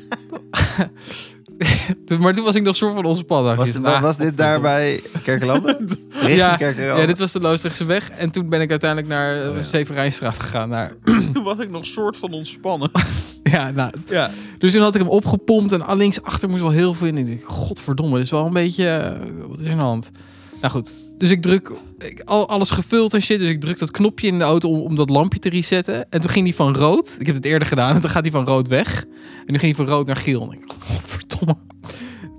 Toen- maar toen was ik nog soort van ontspannen. Was, Ik dacht, wa- ah, was dit daar godverdomme. bij Kerkelanden? Richting Ja, Kerkelanden? Ah, Ja, dit nou. was de Loosdrechtse weg. En toen ben ik uiteindelijk naar eh, Oh ja. Severijnstraat gegaan. Naar, Toen was ik nog soort van ontspannen. ja, nou, Ja. Dus toen had ik hem opgepompt en links achter moest wel heel veel in. Ik dacht, godverdomme, dit is wel een beetje... eh, wat is er aan de hand? Nou goed, dus ik druk... Ik, al, alles gevuld en shit, dus ik druk dat knopje in de auto om, om dat lampje te resetten. En toen ging die van rood. Ik heb het eerder gedaan en toen gaat die van rood weg. En nu ging die van rood naar geel. En ik dacht, godverdomme.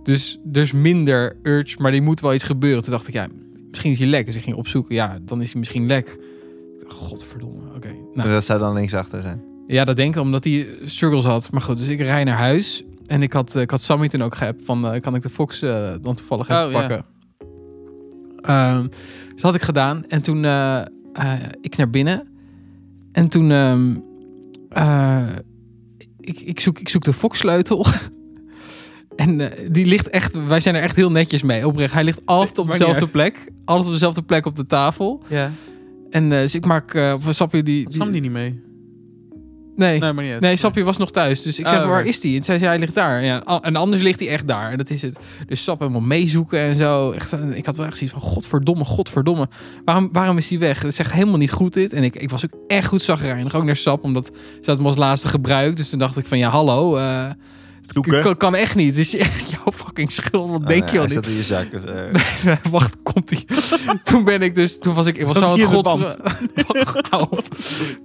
Dus, dus minder urge, maar er moet wel iets gebeuren. Toen dacht ik, ja, misschien is hij lek. Dus ik ging opzoeken, ja, dan is hij misschien lek. Ik dacht, godverdomme, oké. Nou, Maar Dat zou dan linksachter zijn. ja, dat denk ik, omdat hij struggles had. Maar goed, dus ik rij naar huis. En ik had, eh, ik had Sammy toen ook geappt van... eh, kan ik de Fox eh, dan toevallig even Oh, ja. pakken? Ehm, dus dat had ik gedaan. En toen eh, eh, ik naar binnen. En toen... ehm, eh, ik, ik, zoek, ik zoek de Fox-sleutel. en eh, die ligt echt... Wij zijn er echt heel netjes mee, oprecht. Hij ligt altijd op Maakt niet dezelfde plek. Altijd op dezelfde plek op de tafel. Ja. En eh, dus ik maak... eh, of Sappie die... die Sam die niet mee? nee. Nee, maar niet uit. Nee, Sapje was nog thuis. Dus ik Oh, zei, waar oké. is die? En zij zei, hij ligt daar. Ja, a- en anders ligt hij echt daar. En dat is het. Dus Sap helemaal meezoeken en zo. Echt, eh, ik had wel echt zoiets van, godverdomme, godverdomme. Waarom, waarom is hij weg? Het is echt helemaal niet goed dit. En ik, ik was ook echt goed zagrijnig. Ook naar Sap, omdat ze had hem als laatste gebruikt. Dus toen dacht ik van, ja, hallo. eh, Doeken. het kan, kan echt niet. Het is echt jouw fucking schuld. Wat Ah, denk je al Oh, Hij niet? zat in je zak. dus, eh, Wacht, komt ie. toen ben ik dus, toen was ik, ik was Zat zo aan hij het in de godver... Hou op.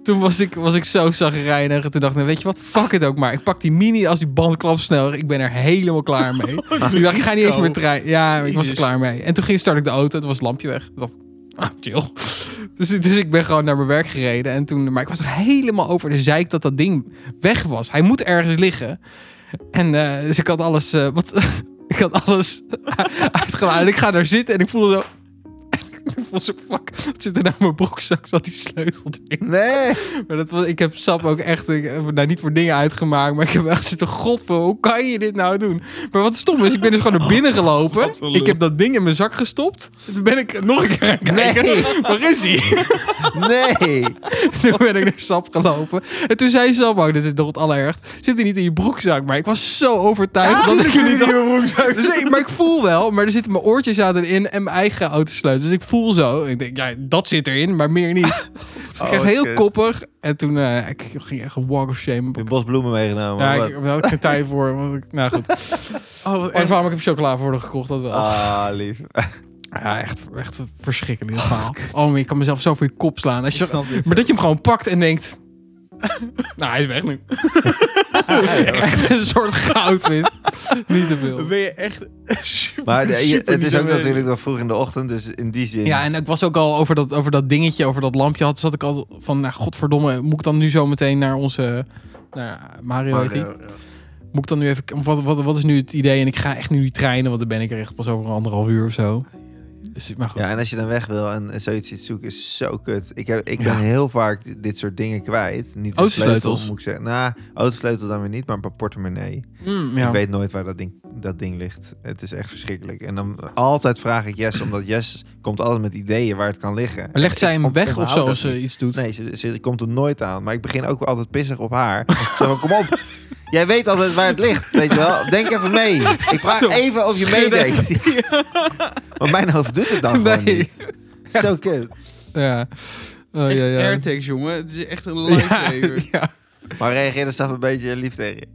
toen was ik, was ik zo zagrijnig. En Toen dacht ik, nou, weet je wat, fuck het ook maar. Ik pak die mini als die band klapt sneller. Ik ben er helemaal klaar mee. dus ik dacht, ik ga niet eens meer trein. Ja, ik was er Jezus. klaar mee. En toen ging start ik de auto, toen was het lampje weg. Ik dacht, ah, chill. Dus, dus ik ben gewoon naar mijn werk gereden. En toen, maar ik was er helemaal over de zeik dat dat ding weg was. Hij moet ergens liggen. En eh, dus ik had alles, eh, wat, ik had alles uitgeladen. En ik ga daar zitten en ik voelde zo... Ik voel zo, fuck, wat zit er nou in mijn broekzak? Zat die sleutel erin? nee! Maar dat was, ik heb Sap ook echt, ik heb daar niet voor dingen uitgemaakt, maar ik heb echt zitten, god, bro, hoe kan je dit nou doen? Maar wat stom is, ik ben dus gewoon naar binnen gelopen. een lul. ik heb dat ding in mijn zak gestopt. En Toen ben ik nog een keer gaan kijken, Nee. waar is hij? Nee! toen ben ik naar Sap gelopen. En toen zei Sap ook, dit is nog het allerergst, zit hij niet in je broekzak? Maar ik was zo overtuigd dat ik niet dus nee, maar ik voel wel, maar er zitten mijn oortjes zaten erin en mijn eigen autosleutel. Dus ik voel zo. Ik denk, ja, dat zit erin, maar meer niet. Dus ik Oh, kreeg wat heel kut. koppig. En toen eh, ik ging echt een walk of shame. Een bos bloemen meegenomen. Ja, of ik, wat? daar had ik geen tijd voor. Want ik, nou goed. Oh, wat En erg. waarom ik heb chocola voor haar gekocht, dat wel. Ah, lief. Ja, echt, echt een verschrikkelijk verhaal. Oh, maar je kan mezelf zo voor je kop slaan. Als je, snap dit. maar dat je hem gewoon pakt en denkt... nou, hij is weg nu. echt een soort goudvis. Niet te veel. Ben je echt Oh, super, Maar de- je- super het is niet ook mee. natuurlijk nog vroeg in de ochtend, dus in die zin... Ja, en ik was ook al over dat, over dat dingetje, over dat lampje had, zat ik al van, nou godverdomme, moet ik dan nu zo meteen naar onze, naar Mario heet eh, die? Moet ik dan nu even, of wat, wat, wat is nu het idee? En ik ga echt nu die treinen, want dan ben ik er echt pas over een anderhalf uur of zo. Dus- Maar goed. Ja, en als je dan weg wil en zoiets iets zoeken is zo kut. Ik, heb, ik ben heel vaak dit soort dingen kwijt. Niet de Autosleutels. sleutel, moet ik zeggen. Nou, autosleutel dan weer niet, maar mijn portemonnee. Mm, ja. Ik weet nooit waar dat ding, dat ding ligt. Het is echt verschrikkelijk. En dan altijd vraag ik Jess, omdat Jess komt altijd met ideeën waar het kan liggen. Maar legt zij hem ont- weg of onthoud zo dat als ze niet. iets doet? Nee, ze, ze komt er nooit aan. Maar ik begin ook altijd pissig op haar. Ik zeg van, kom op. Jij weet altijd waar het ligt, weet je wel. Denk even mee. Ik vraag even of je schudden. meedenkt. Want mijn hoofd doet het dan gewoon Nee. niet. Zo kut. Ja. Oh, Echt ja, ja. AirTags, jongen. Het is echt een Ja, lifesaver. ja. Maar reageerde Sap een beetje lief tegen je?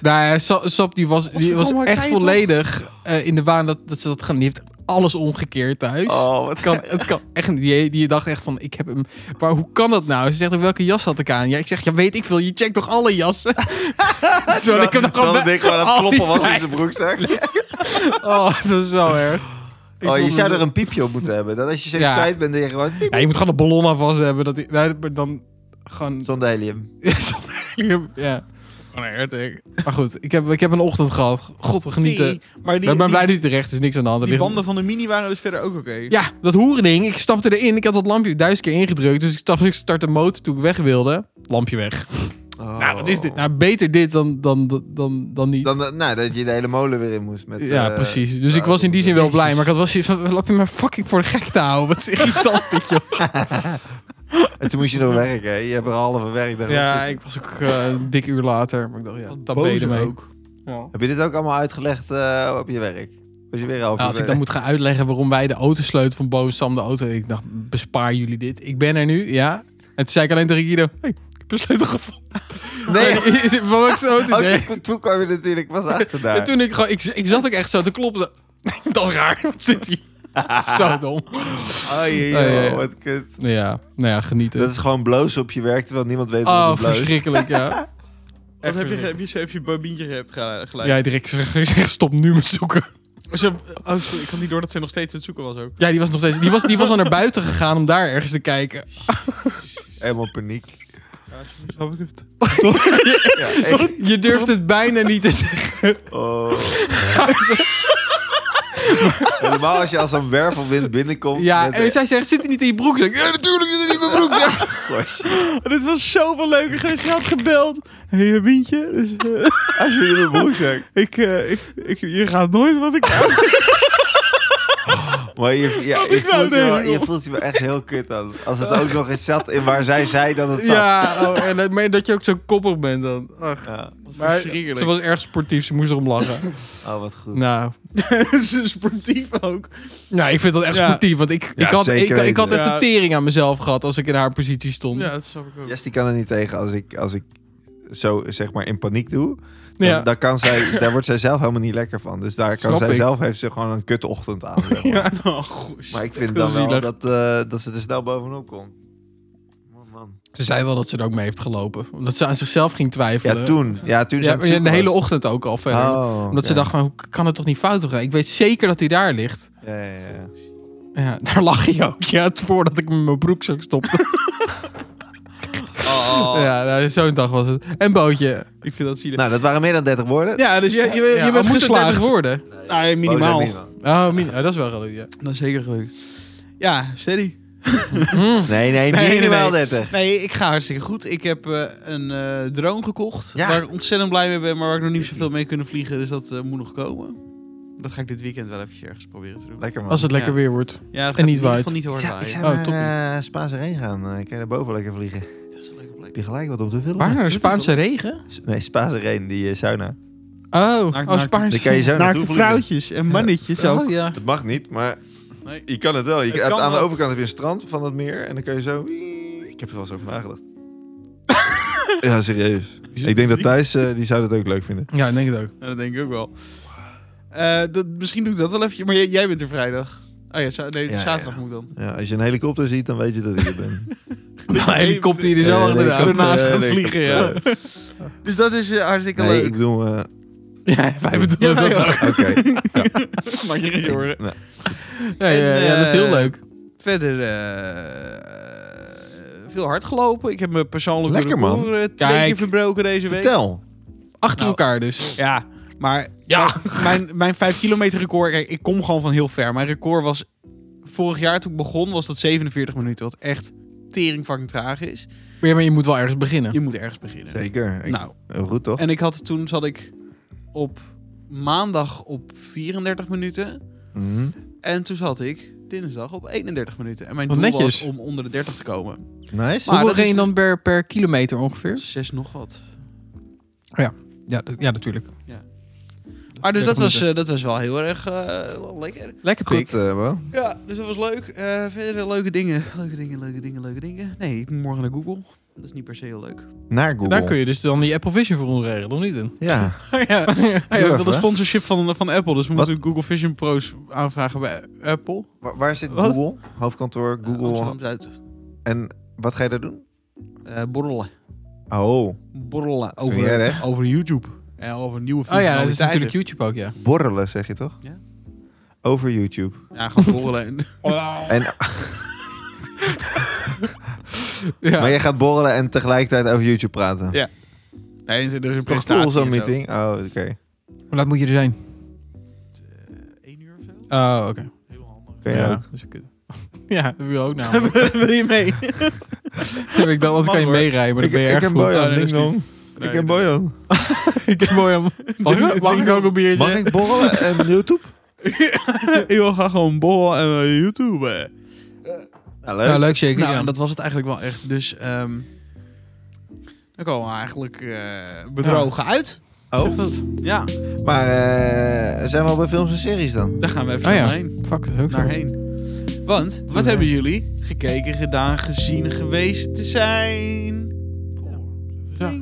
Nou ja, Sa- Sap die was, die was Godverdomme, echt zei je volledig eh, in de waan dat, dat ze dat gaan. Die heeft alles omgekeerd thuis. Oh, wat Het kan, het kan echt niet. Die, die dacht echt van, ik heb hem... Maar hoe kan dat nou? Ze zegt, ook, welke jas had ik aan? Ja, ik zeg, ja, weet ik veel. Je checkt toch alle jassen? Zo, ik heb nog Dat ding gewoon aan het Oh, al die kloppen was in tijd. zijn broekzak. Oh, dat is zo erg. Ik Oh, je vond zou het- er een piepje op moeten hebben. Dat als je steeds Ja. kwijt bent, dan je gewoon... piep, Ja, je moet gewoon een ballon aan vast hebben. Dat, die- nee, maar dan gewoon... Zonder helium. ja. Gewoon een AirTag. Maar goed, ik heb, ik heb een ochtend gehad. God, we genieten. Die, maar ik die, ben die, blij dat hij terecht is. Niks aan de hand. Er die ligt- banden van de mini waren dus verder ook oké. Ja, dat hoerending. Ik stapte erin. Ik had dat lampje duizend keer ingedrukt. Dus ik stapte, ik startte de motor toen ik weg wilde. Lampje weg. Oh. Nou, wat is dit? Nou, beter dit dan, dan, dan, dan niet. Dan, eh, nou, dat je de hele molen weer in moest. Met, ja, eh, precies. Dus ik nou, was in die zin wel Jezus. blij. Maar ik had wel zoiets van, laat je maar fucking voor de gek te houden. Wat is irritant dit, joh. En toen moest je nog werken. hè? Je hebt er halve werk. daarop Ja, zitten. ik was ook eh, een dik uur later. Maar ik dacht, ja, dat boos mee. ook. Ja. Heb je dit ook allemaal uitgelegd eh, op je werk? Was je weer half Nou, als ik dan moet gaan uitleggen waarom wij de auto sleutel van Bo Sam de auto... Ik dacht, bespaar jullie dit. Ik ben er nu, ja. En toen zei ik alleen tegen Guido... Hey, ik heb een sleutel gevonden. Nee, En Is het voor ook zo te Oh, denken? toen- toen kwam je natuurlijk pas achter daar. En toen ik gewoon... Ik, ik zat ook echt zo te kloppen. zo, Dat is raar. Wat zit hier? zo dom. Oh, jee, Oh, ja, ja. joh, wat kut. Ja, nou ja, genieten. Dat is gewoon bloos op je werk, terwijl niemand weet wat oh, het bloos is. verschrikkelijk, ja. Wat Echt heb je, verschrikkelijk. heb je, heb je babientje gehad ge- gelijk? Ja, direct gezegd, stop nu met zoeken. Ze, oh, sorry, ik had niet door dat ze nog steeds aan het zoeken was ook. Ja, die was nog steeds... Die was, die was al naar buiten gegaan om daar ergens te kijken. Helemaal paniek. Ja, soms snap ik het. Ja, echt. Je durft het bijna niet te zeggen. Oh. Helemaal als je als een wervelwind binnenkomt. Ja, met en een- zij zegt, zit hij niet in je broek? Ik zeg, ja, natuurlijk zit hij niet in mijn broek. Ja. Gosh, Dit was zoveel leuker geweest. Je had gebeld. Hé, hey, Wientje. Dus, eh, Als je in mijn broekzak. ik, eh, ik, ik, je gaat nooit wat ik... Maar je, ja, je, ik nou voelt je, wel, tegen, je voelt je wel echt heel kut aan. Als het ook nog eens zat in waar zij zei dat het zat. Ja, oh, en dat- maar dat je ook zo koppig bent dan. Ach. Ja. Maar Oh, verschrikkelijk. ze was erg sportief, ze moest erom lachen. Oh, wat goed. nou, Ze is sportief ook. nou, ik vind dat echt Ja. sportief, want ik, Ja, ik, had, zeker ik, ik had weten. echt Ja. een tering aan mezelf gehad als ik in haar positie stond. Ja, Ja, dat snap ik ook. Jess die kan er niet tegen als ik, als ik zo zeg maar in paniek doe. Dan, ja. dan kan zij, daar wordt zij zelf helemaal niet lekker van. Dus daar kan Snap zij ik. zelf heeft ze gewoon een kutochtend aan. zeg maar. Oh, gosh. Maar ik vind Heel dan wel zielig. dat, eh, dat ze er snel bovenop komt. Oh, man. Ze zei wel dat ze er ook mee heeft gelopen, omdat ze aan zichzelf ging twijfelen. Ja, toen. Ja, toen Ja, zijn maar de hele ochtend ook al verder. Oh, omdat ze dacht, van, hoe kan het toch niet fout gaan? Ik weet zeker dat hij daar ligt. Ja, ja, ja. Ja, daar lag hij ook. Ja, het voordat ik hem in mijn broekzak stopte. Oh. Ja, nou, zo'n dag was het. En bootje. Ik vind dat zielig. Nou, dat waren meer dan 30 woorden. ja, dus je, je, je Ja, oh, bent moest het geslaagd. dertig worden? Nee. Nou, ja, Boos minimaal. en minimaal. Oh, min- oh, dat is wel gelukt, ja. Dat is zeker gelukt. Ja, steady. Mm. Nee, nee, nee, minimaal 30. Nee, ik ga hartstikke goed. Ik heb eh, een eh, drone gekocht. Ja. Waar ik ontzettend blij mee ben, maar waar ik nog niet zoveel mee kunnen vliegen. Dus dat eh, moet nog komen. Dat ga ik dit weekend wel even ergens proberen te doen. Lekker man. Als het lekker Ja. weer wordt. Ja, het En gaat niet in ieder waait. geval niet Ik hard zou, ik waaien. zou Oh, naar top. eh, Spaanse Rijn gaan. Eh, kan je daar boven lekker vliegen? Heb Dat is een leuke plek. je gelijk wat om te vullen? Waar? De Spaanse regen? Nee, Spaanse Rijn, die eh, sauna. Oh, Naakt- oh naakt- Spaanse Daar kan je zo naartoe Naakte vliegen. vrouwtjes en mannetjes ook. Oh, ja. Het mag niet, maar Nee. je kan het wel. Je, Het hebt- kan aan de wel. overkant heb je een strand van het meer en dan kan je zo... Ik heb er wel eens over nagedacht. ja, serieus. Ik denk dat Thijs, eh, die zou dat ook leuk vinden. Ja, ik denk het ook. Ja, dat denk ik ook wel. Eh, dat, misschien doe ik dat wel even. Maar jij, jij bent er vrijdag. Oh ja, za- nee, Ja, zaterdag ja. moet ik dan. Ja, als je een helikopter ziet, dan weet je dat ik er ben. De helikopter hier is Eh, wel inderdaad. helikopter, ernaast gaat helikopter. eh, vliegen, ja. Dus dat is eh, hartstikke Nee, ik leuk. bedoel... eh, Ja, wij bedoelen Ja, dat ja. ook. Oké. Maak je geen zorgen. Nou, Ja, ja, En, ja, dat is heel eh, leuk. Verder eh, veel hard gelopen. Ik heb me persoonlijk Lekker, man. record, eh, twee Kijk. keer verbroken deze week. vertel. Achter nou. elkaar dus. Ja, maar Ja. mijn, mijn 5 kilometer record, kijk, ik kom gewoon van heel ver. Mijn record was vorig jaar toen ik begon, was dat 47 minuten. Wat echt tering fucking traag is. Maar, ja, maar je moet wel ergens beginnen. Je moet ergens beginnen. Zeker. Ik, Nou, Goed toch? en ik had toen zat ik op maandag op 34 minuten. Mhm. En toen zat ik dinsdag op 31 minuten. En mijn Wat doel netjes. was om onder de 30 te komen. Nice. Maar Hoeveel dat ren je is- dan per, per kilometer ongeveer? Zes nog wat. Ja, dat- ja natuurlijk. Maar dus Ja, dat goed, was, hè. eh, dat was wel heel erg eh, wel lekker. Lekker pik. Goed, eh, wel. Ja, dus dat was leuk. Eh, verder leuke dingen. Leuke dingen, leuke dingen, leuke dingen. Nee, ik moet morgen naar Google. Dat is niet per se heel leuk. Naar Google. Daar kun je dus dan die Apple Vision voor onregelen, of niet? In? Oh Ja. Oh ja, ja, Doe ik even, wilde een hè. sponsorship van, van Apple. Dus we Wat? moeten Google Vision Pro's aanvragen bij Apple. Eh, Waar, waar zit Wat? Google? Hoofdkantoor, Google. Amsterdam-Zuid. En wat ga je daar doen? Eh, borrelen. Oh, Borrelen. is niet erg. Over, over YouTube. En over nieuwe Oh ja, dat is functionaliteiten. natuurlijk YouTube ook, ja. borrelen zeg je toch? Ja. Over YouTube. Ja, gewoon borrelen. En, ja. Maar je gaat borrelen en tegelijkertijd over YouTube praten. Ja, nee, er is een toch cool presentatie zo'n en zo. meeting? Oh, oké. Hoe laat moet je er zijn? Eén Eh, uur of zo? Oh, oké. Heel handig. Kun je ja, ook? dus ik- ja, dat wil je ook namelijk. Wil je mee? ik dacht, anders kan je Man, hoor. meerijden, maar Ik, dan ben je ik erg ken vroeg. Oh, Bojan, nee, ding dat is dong. Ik ken Bojan. ik heb mooi aan... Mag ik- mag ik ook een biertje? Mag ik borrelen en YouTube? Ik wil graag gewoon borrelen en eh, YouTube. eh. Nou, Nou, leuk. leuk zeker, Nou, ja. en dat was het eigenlijk wel echt. Dus ehm dan komen we eigenlijk eh, bedrogen uit. Oh, Ja, maar eh, zijn we al bij films en series dan? daar gaan we even Oh ja. doorheen. Fuck, dat is ook zo. Naarheen. Want, wat hebben jullie gekeken, gedaan, gezien, geweest te zijn? Ja.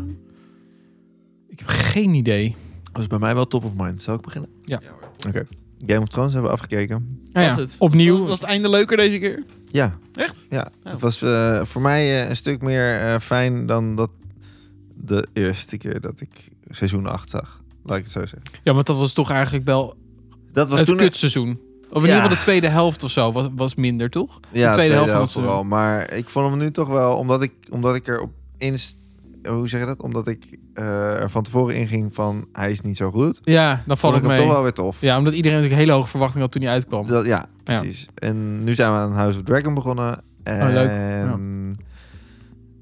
Ik heb geen idee. Dat is bij mij wel top of mind. Zal ik beginnen? Ja hoor. Game of Thrones hebben we afgekeken. Ah, ja. Was het? Opnieuw. Was, was het einde leuker deze keer? Ja, Echt? Ja, Ja. het was eh, voor mij eh, een stuk meer eh, fijn dan dat de eerste keer dat ik seizoen 8 zag. Laat ik het zo zeggen. Ja, want dat was toch eigenlijk wel Dat was het toen eh, kutseizoen. Of Ja. in ieder geval de tweede helft of zo was, was minder, toch? ja, de tweede helft van het vooral. Maar ik vond hem nu toch wel, omdat ik, omdat ik er op ins- Hoe zeg je dat? Omdat ik eh, er van tevoren inging van hij is niet zo goed. eh, Ja, dan valt vond het ik hem mee. toch wel weer tof. Ja, omdat iedereen natuurlijk hele hoge verwachtingen had toen hij uitkwam. Dat, ja, precies. En nu zijn we aan House of Dragon begonnen. En Oh, leuk.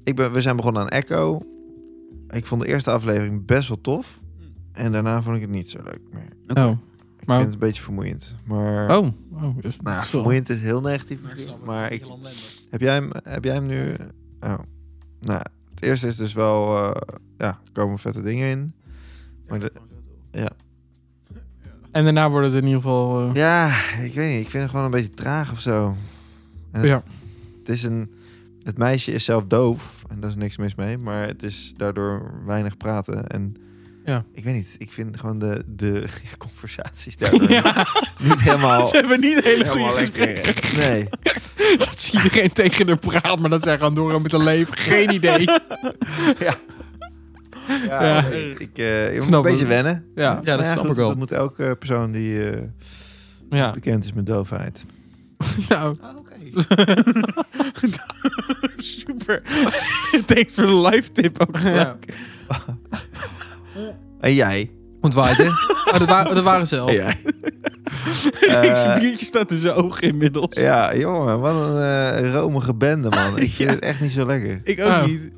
Ik ben, we zijn begonnen aan Echo. Ik vond de eerste aflevering best wel tof. En daarna vond ik het niet zo leuk meer. Oh, Ik Maar- vind het een beetje vermoeiend. Maar, oh. oh dus, nou, dat is wel- vermoeiend is heel negatief. natuurlijk, Maar ik, heb, jij hem, heb jij hem nu... Oh. Nou, het eerste is dus wel... eh, ja, er komen vette dingen in. Maar de- En daarna wordt het in ieder geval... eh, ja, ik weet niet. Ik vind het gewoon een beetje traag of zo. En Ja. Het is een... Het meisje is zelf doof en daar is niks mis mee, maar het is daardoor weinig praten en Ja. ik weet niet. Ik vind gewoon de, de conversaties daardoor niet helemaal, Ze hebben niet hele goede helemaal gesprekken. lekker. Nee, dat zie iedereen tegen haar praat, maar dat zij gaan door met een leven. Geen idee. ja, Ja. Ik, ik, eh, je moet Snap een beetje het. wennen. Ja, ja Maar dat snap goed, ik wel. Dat moet elke persoon die eh, Ja. bekend is met doofheid. Nou, Ah, Oké. Super. Thanks voor de live tip ook. ja. En jij? Ontwaaid, hè? Oh, dat, waren, dat waren ze al. En jij? Ik zie Eh, biertje staat in zijn ogen inmiddels. ja, jongen, wat een eh, romige bende, man. Ik vind Ja. het echt niet zo lekker. Ik ook Oh. niet. Ik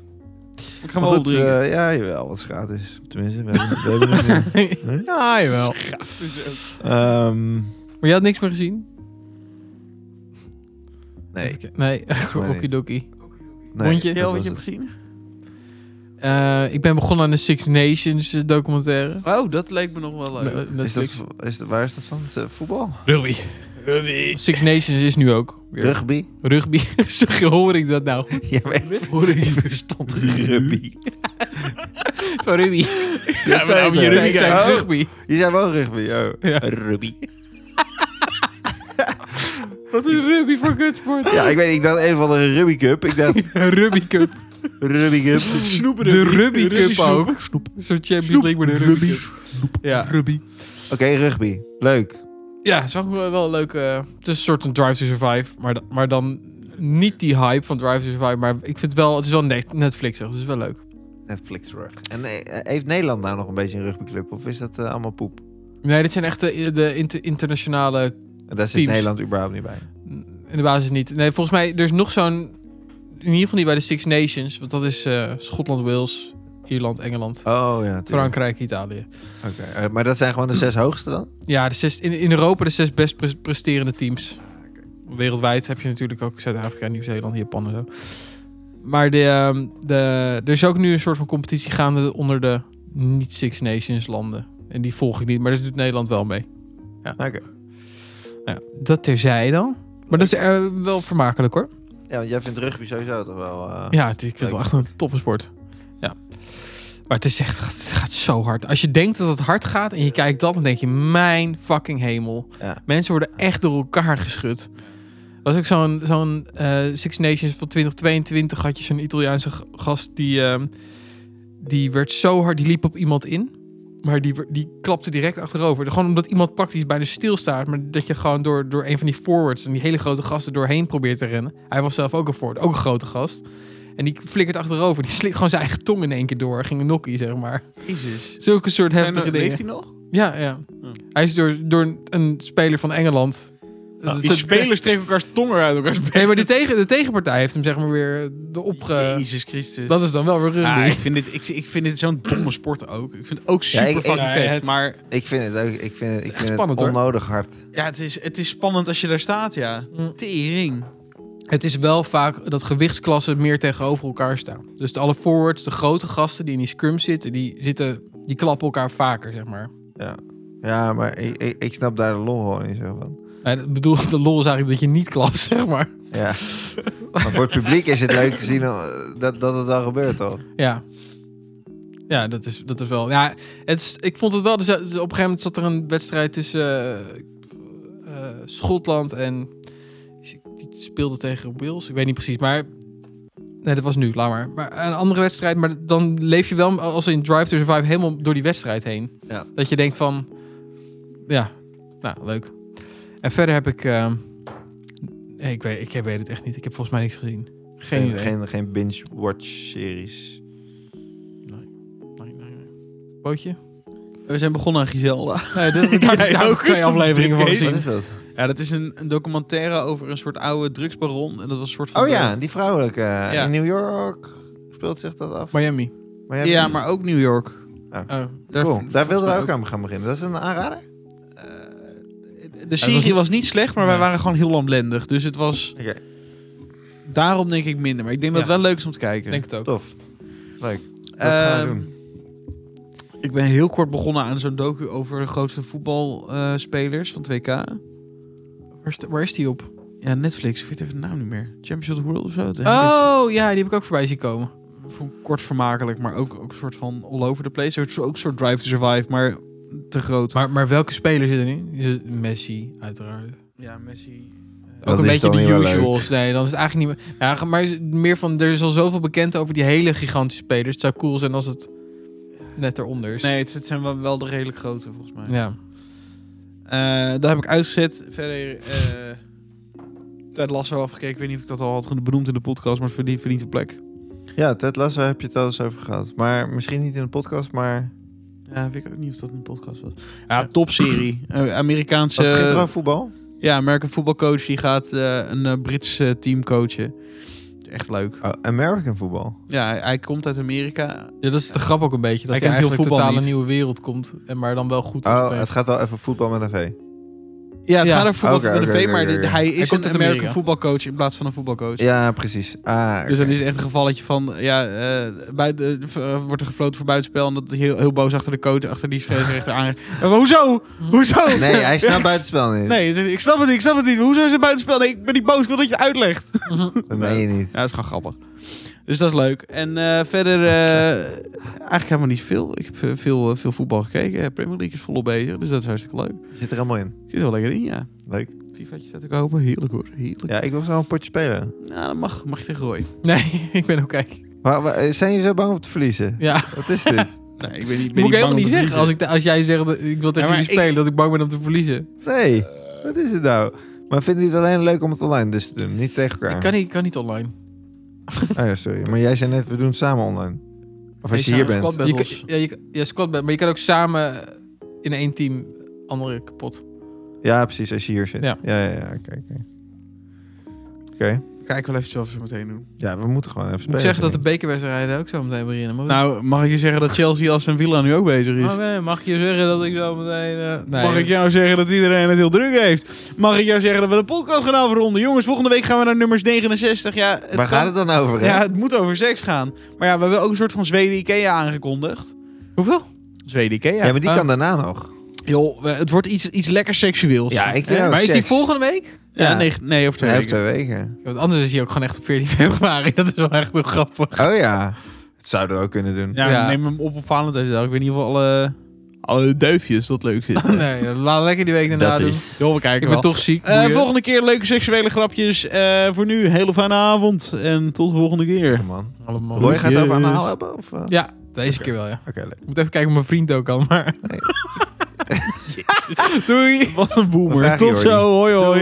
ga Maar maar goed, opdrinken. eh, ja, jawel, wat is gratis. Tenminste, we hebben, we hebben het niet. ja, jawel. eh, Ehm, Maar je had niks meer gezien? nee, Oké. Nee, okidoki. nee. Hondje? dat Heel wat was je hebt het. gezien? Eh, ik ben begonnen aan de Six Nations eh, documentaire. Oh, dat leek me nog wel leuk. Me- Is Netflix. dat, is dat, waar is dat van? Is dat voetbal? Rugby. Six Nations is nu ook. weer Rugby? Rugby. Zeg je, hoor ik dat nou? Ja, maar ik ik verstond rugby. Van rugby. Ja, maar nou, je Nee, rugby ik zei kijkt. rugby. Oh, Je zei wel rugby, oh. Ja. Rugby. Wat is rugby voor kutsport? Ja, ik weet niet, ik dacht even van een rugby cup. Ik dacht, rugby Cup. rugby cup. Snoepen De rugby Cup snoep. ook. Zo'n Champions League, maar de rugby Cup. Ja. Oké, rugby. Leuk. Ja, het is wel, wel leuk. eh, het is een soort van Drive to Survive, maar, da- maar dan niet die hype van Drive to Survive. Maar ik vind wel, het is wel net Netflix, dus het is wel leuk. Netflix rug. En eh, heeft Nederland nou nog een beetje een rugbyclub? Of is dat eh, allemaal poep? Nee, dit zijn echt de, de inter- internationale. En Daar zit Teams. Nederland überhaupt niet bij. in de basis niet. Nee, volgens mij, er is nog zo'n... In ieder geval niet bij de Six Nations. Want dat is eh, Schotland, Wales, Ierland, Engeland, Oh ja, natuurlijk. Frankrijk, Italië. Oké, eh, maar dat zijn gewoon de zes hoogste dan? Ja, de zes, in, in Europa de zes best pres- presterende teams. Wereldwijd heb je natuurlijk ook Zuid-Afrika, Nieuw-Zeeland, Japan en zo. Maar de, ehm, de, er is ook nu een soort van competitie gaande onder de niet-Six Nations landen. En die volg ik niet, maar daar doet Nederland wel mee. Oké. Nou ja, dat terzij dan. Maar dat is eh, wel vermakelijk hoor. Ja, want jij vindt rugby sowieso toch wel... eh, Ja, het- ik vind het leuk. wel echt een toffe sport. Ja. Maar het is echt, het gaat zo hard. Als je denkt dat het hard gaat en je kijkt dat, dan denk je, mijn fucking hemel. Ja. Mensen worden echt door elkaar geschud. Er was ook zo'n zo'n eh, Six Nations van 2022, had je zo'n Italiaanse g- gast die, ehm, die werd zo hard, die liep op iemand in. Maar die, wer- die klapte direct achterover. Gewoon omdat iemand praktisch bijna stilstaat. Maar dat je gewoon door, door een van die forwards en die hele grote gasten doorheen probeert te rennen. Hij was zelf ook een forward, ook een grote gast. En die flikkert achterover. Die slikt gewoon zijn eigen tong in één keer door. Ging een nokkie, zeg maar. Jezus. Zulke soort En heftige eh, dingen. leeft hij nog? Ja, ja. Ja. Hij is door, door een speler van Engeland... Ah, Dat die soort- spelers trekken elkaars tongen uit elkaars bek. Nee, maar de, tegen, de tegenpartij heeft hem zeg maar weer eh, de opge... Jezus Christus. Dat is dan wel weer rugby. Ah, ik vind dit, ik, ik vind dit zo'n domme sport ook. Ik vind het ook Ja, super ik- ik- fucking Ja, vet. het- Maar Ik vind het ook ik vind het, ik echt vind het spannend, hoor. onnodig hard. ja, het, is, het is spannend als je daar staat, ja. Mm. Tering. Het is wel vaak dat gewichtsklassen meer tegenover elkaar staan. Dus de alle forwards, de grote gasten die in die scrum zitten... die, zitten, die klappen elkaar vaker, zeg maar. Ja, maar ik, ik, ik snap daar de lol gewoon niet zo van. Nee, dat bedoel, de lol is eigenlijk dat je niet klapt, zeg maar. Ja. maar voor het publiek is het leuk te zien eh, dat, dat het al gebeurt, toch? Ja. Ja, dat is, dat is wel. Ja, het is, ik vond het wel. Dus, eh, op een gegeven moment zat er een wedstrijd tussen eh, eh, Schotland en. Die speelde tegen Wales. Ik weet niet precies, maar. Nee, dat was nu, laat maar. Maar een andere wedstrijd, maar dan leef je wel als in Drive to Survive helemaal door die wedstrijd heen. Ja. Dat je denkt van. Ja, nou, leuk. En verder heb ik. ehm, nee, ik, weet, ik weet het echt niet. Ik heb volgens mij niks gezien. Geen idee. geen, geen binge-watch-series. Nee, nee, nee. Bootje? We zijn begonnen aan Giselda. Nee, dat, daar, daar Jij heb ik ook? twee afleveringen van Oké. Wat gezien. is dat? Ja, dat is een, een documentaire over een soort oude drugsbaron. En dat was een soort van... Oh ja, die vrouwelijke. eh, Ja. In New York speelt zich dat af. Miami. Maar jij- Ja, maar ook New York. Oh. Daar, Cool. Daar wilden we mij ook aan gaan beginnen. Dat is een aanrader? De serie was niet slecht, maar wij Nee. waren gewoon heel lamlendig. Dus het was... Oké. Daarom denk ik minder. Maar ik denk dat Ja. het wel leuk is om te kijken. Ik denk het ook. Tof. Leuk. Ehm, Dat gaan we doen. Ik ben heel kort begonnen aan zo'n docu over de grootste voetbalspelers van 2K. Waar is, de- waar is die op? Ja, Netflix. Ik weet even de naam niet meer. Champions of the World of zo. Het hele Oh, ja, die heb ik ook voorbij zien komen. best- vond ik kort vermakelijk, maar ook, ook een soort van all over the place. Ook een soort Drive to Survive, maar te groot. Maar, maar welke speler zit erin? Is het Messi, uiteraard. Ja, Messi. eh, Dat ook een is beetje dan niet de wel leuk. usuals. Nee, dan is het eigenlijk niet meer... Ja, maar is het meer van, er is al zoveel bekend over die hele gigantische spelers. Het zou cool zijn als het net eronder is. Nee, het, het zijn wel, wel de redelijk grote, volgens mij. Ja. Eh, dat heb ik uitgezet. Verder... eh Ted Lasso afgekeken. Ik weet niet of ik dat al had benoemd in de podcast, maar het verdient, verdient een plek. Ja, Ted Lasso heb je het al eens over gehad. Maar misschien niet in de podcast, maar... Ja, weet ik ook niet of dat een podcast was. Ja, topserie. Eh, Amerikaanse... Was het geen droomvoetbal? Ja, American voetbalcoach die gaat eh, een eh, Brits eh, team coachen. Echt leuk. Oh, American voetbal. Oh, Ja, hij, hij komt uit Amerika. ja, dat is de grap ook een beetje. Dat Hij hij, kent heel eigenlijk voetbal totaal niet. een nieuwe wereld komt. En maar dan wel goed. Oh, opeens. Dus- het gaat wel even voetbal met een V. Ja, het Ja. gaat over voetbal Ah, Oké, met oké, de V, oké, maar oké, de- oké. hij Hij is komt een uit American Amerika. voetbalcoach in plaats van een voetbalcoach. Ja, precies. Ah, Dus dat oké. is echt een gevalletje van, ja, eh, buiten, eh, wordt er gefloten voor buitenspel. En dat hij heel, heel boos achter de coach, achter die scheidsrechter aan. Eh, maar hoezo? Oh, Hoezo? Nee, hij Ja, staat ik- buitenspel niet. Nee, hij zegt, ik snap het niet, ik snap het niet. Hoezo is het buitenspel? Nee, ik ben niet boos, ik wil dat je het uitlegt. Dat meen je niet. Ja, dat is gewoon grappig. Dus dat is leuk. En eh, verder eh, eigenlijk helemaal niet veel. Ik heb eh, veel, eh, veel voetbal gekeken. Eh, Premier League is volop bezig, dus dat is hartstikke leuk. Zit er helemaal in. Zit er wel lekker in, ja. Leuk. FIFA'tje staat ook open. Heerlijk hoor, heerlijk. Ja, ik wil zo een potje spelen. Ja, dat mag, mag je tegen Roy. Nee, ik ben ook kijk. Waar, waar- eh, zijn jullie zo bang om te verliezen? Ja. Wat is dit? Nee, ik ben niet, ben Moet ik helemaal bang niet om te zeggen. Als, verliezen. ik, als jij zegt, dat ik wil tegen maar jullie ik- spelen, dat ik bang ben om te verliezen. Nee, wat is dit nou? Maar vinden jullie het alleen leuk om het online dus te doen? Niet tegen elkaar? Ik kan niet, kan niet online. Oh ja, sorry. Maar jij zei net, we doen het samen online. Of als je hier bent. Je kan- ja, je, kan- ja, squad band, maar je kan ook samen in één team anderen kapot. Ja, precies, als je hier zit. Ja. Ja, ja, ja. Oké, oké. Ga ik wel eventjes wat we zo meteen doen. Ja, we moeten gewoon even Ik moet spelen. zeggen dat de bekerwedstrijden ook zo meteen beginnen. maar- Nou, mag ik je zeggen dat Chelsea als en Villa nu ook bezig is? Oh, nee, mag ik je zeggen dat ik zo meteen... eh, nee, Mag ik jou zeggen dat iedereen het heel druk heeft? Mag ik jou zeggen dat we de podcast gaan afronden? Jongens, volgende week gaan we naar nummers 69. Ja, het Waar kan- gaat het dan over? hè? Ja, het moet over seks gaan. Maar ja, we hebben ook een soort van Zweden Ikea aangekondigd. Hoeveel? Oh, Zweden Ikea. Ja, maar die Ah. kan daarna nog. Joh, we- het wordt iets, iets lekker seksueels. Ja, ik vind Eh, ook maar is die seks. volgende week? Ja, ja. Nee, nee, of twee Twee of weken. twee weken. Ja, Want anders is hij ook gewoon echt op 14 februari. Dat is wel echt heel grappig. Oh ja, dat zouden we ook kunnen doen. Ja, Ja. neem hem op op Valentijnsdag. Ik weet niet of alle, alle duifjes dat leuk vinden. Nee, dat laat lekker die week daarna Dat doen. is- Joh, we kijken Ik wel. ben toch ziek. Eh, boeien. volgende keer leuke seksuele grapjes. Eh, voor nu, hele fijne avond. En tot de volgende keer. Ja, man. Allemaal. Roy gaat het over Yes. anaal hebben? Of, eh? Oké, Ja, deze keer wel, ja. leuk. Ik moet even kijken of mijn vriend ook al, maar... Doei! Wat een Wat boomer. vraag je, Tot zo. Jordi? Hoi hoi.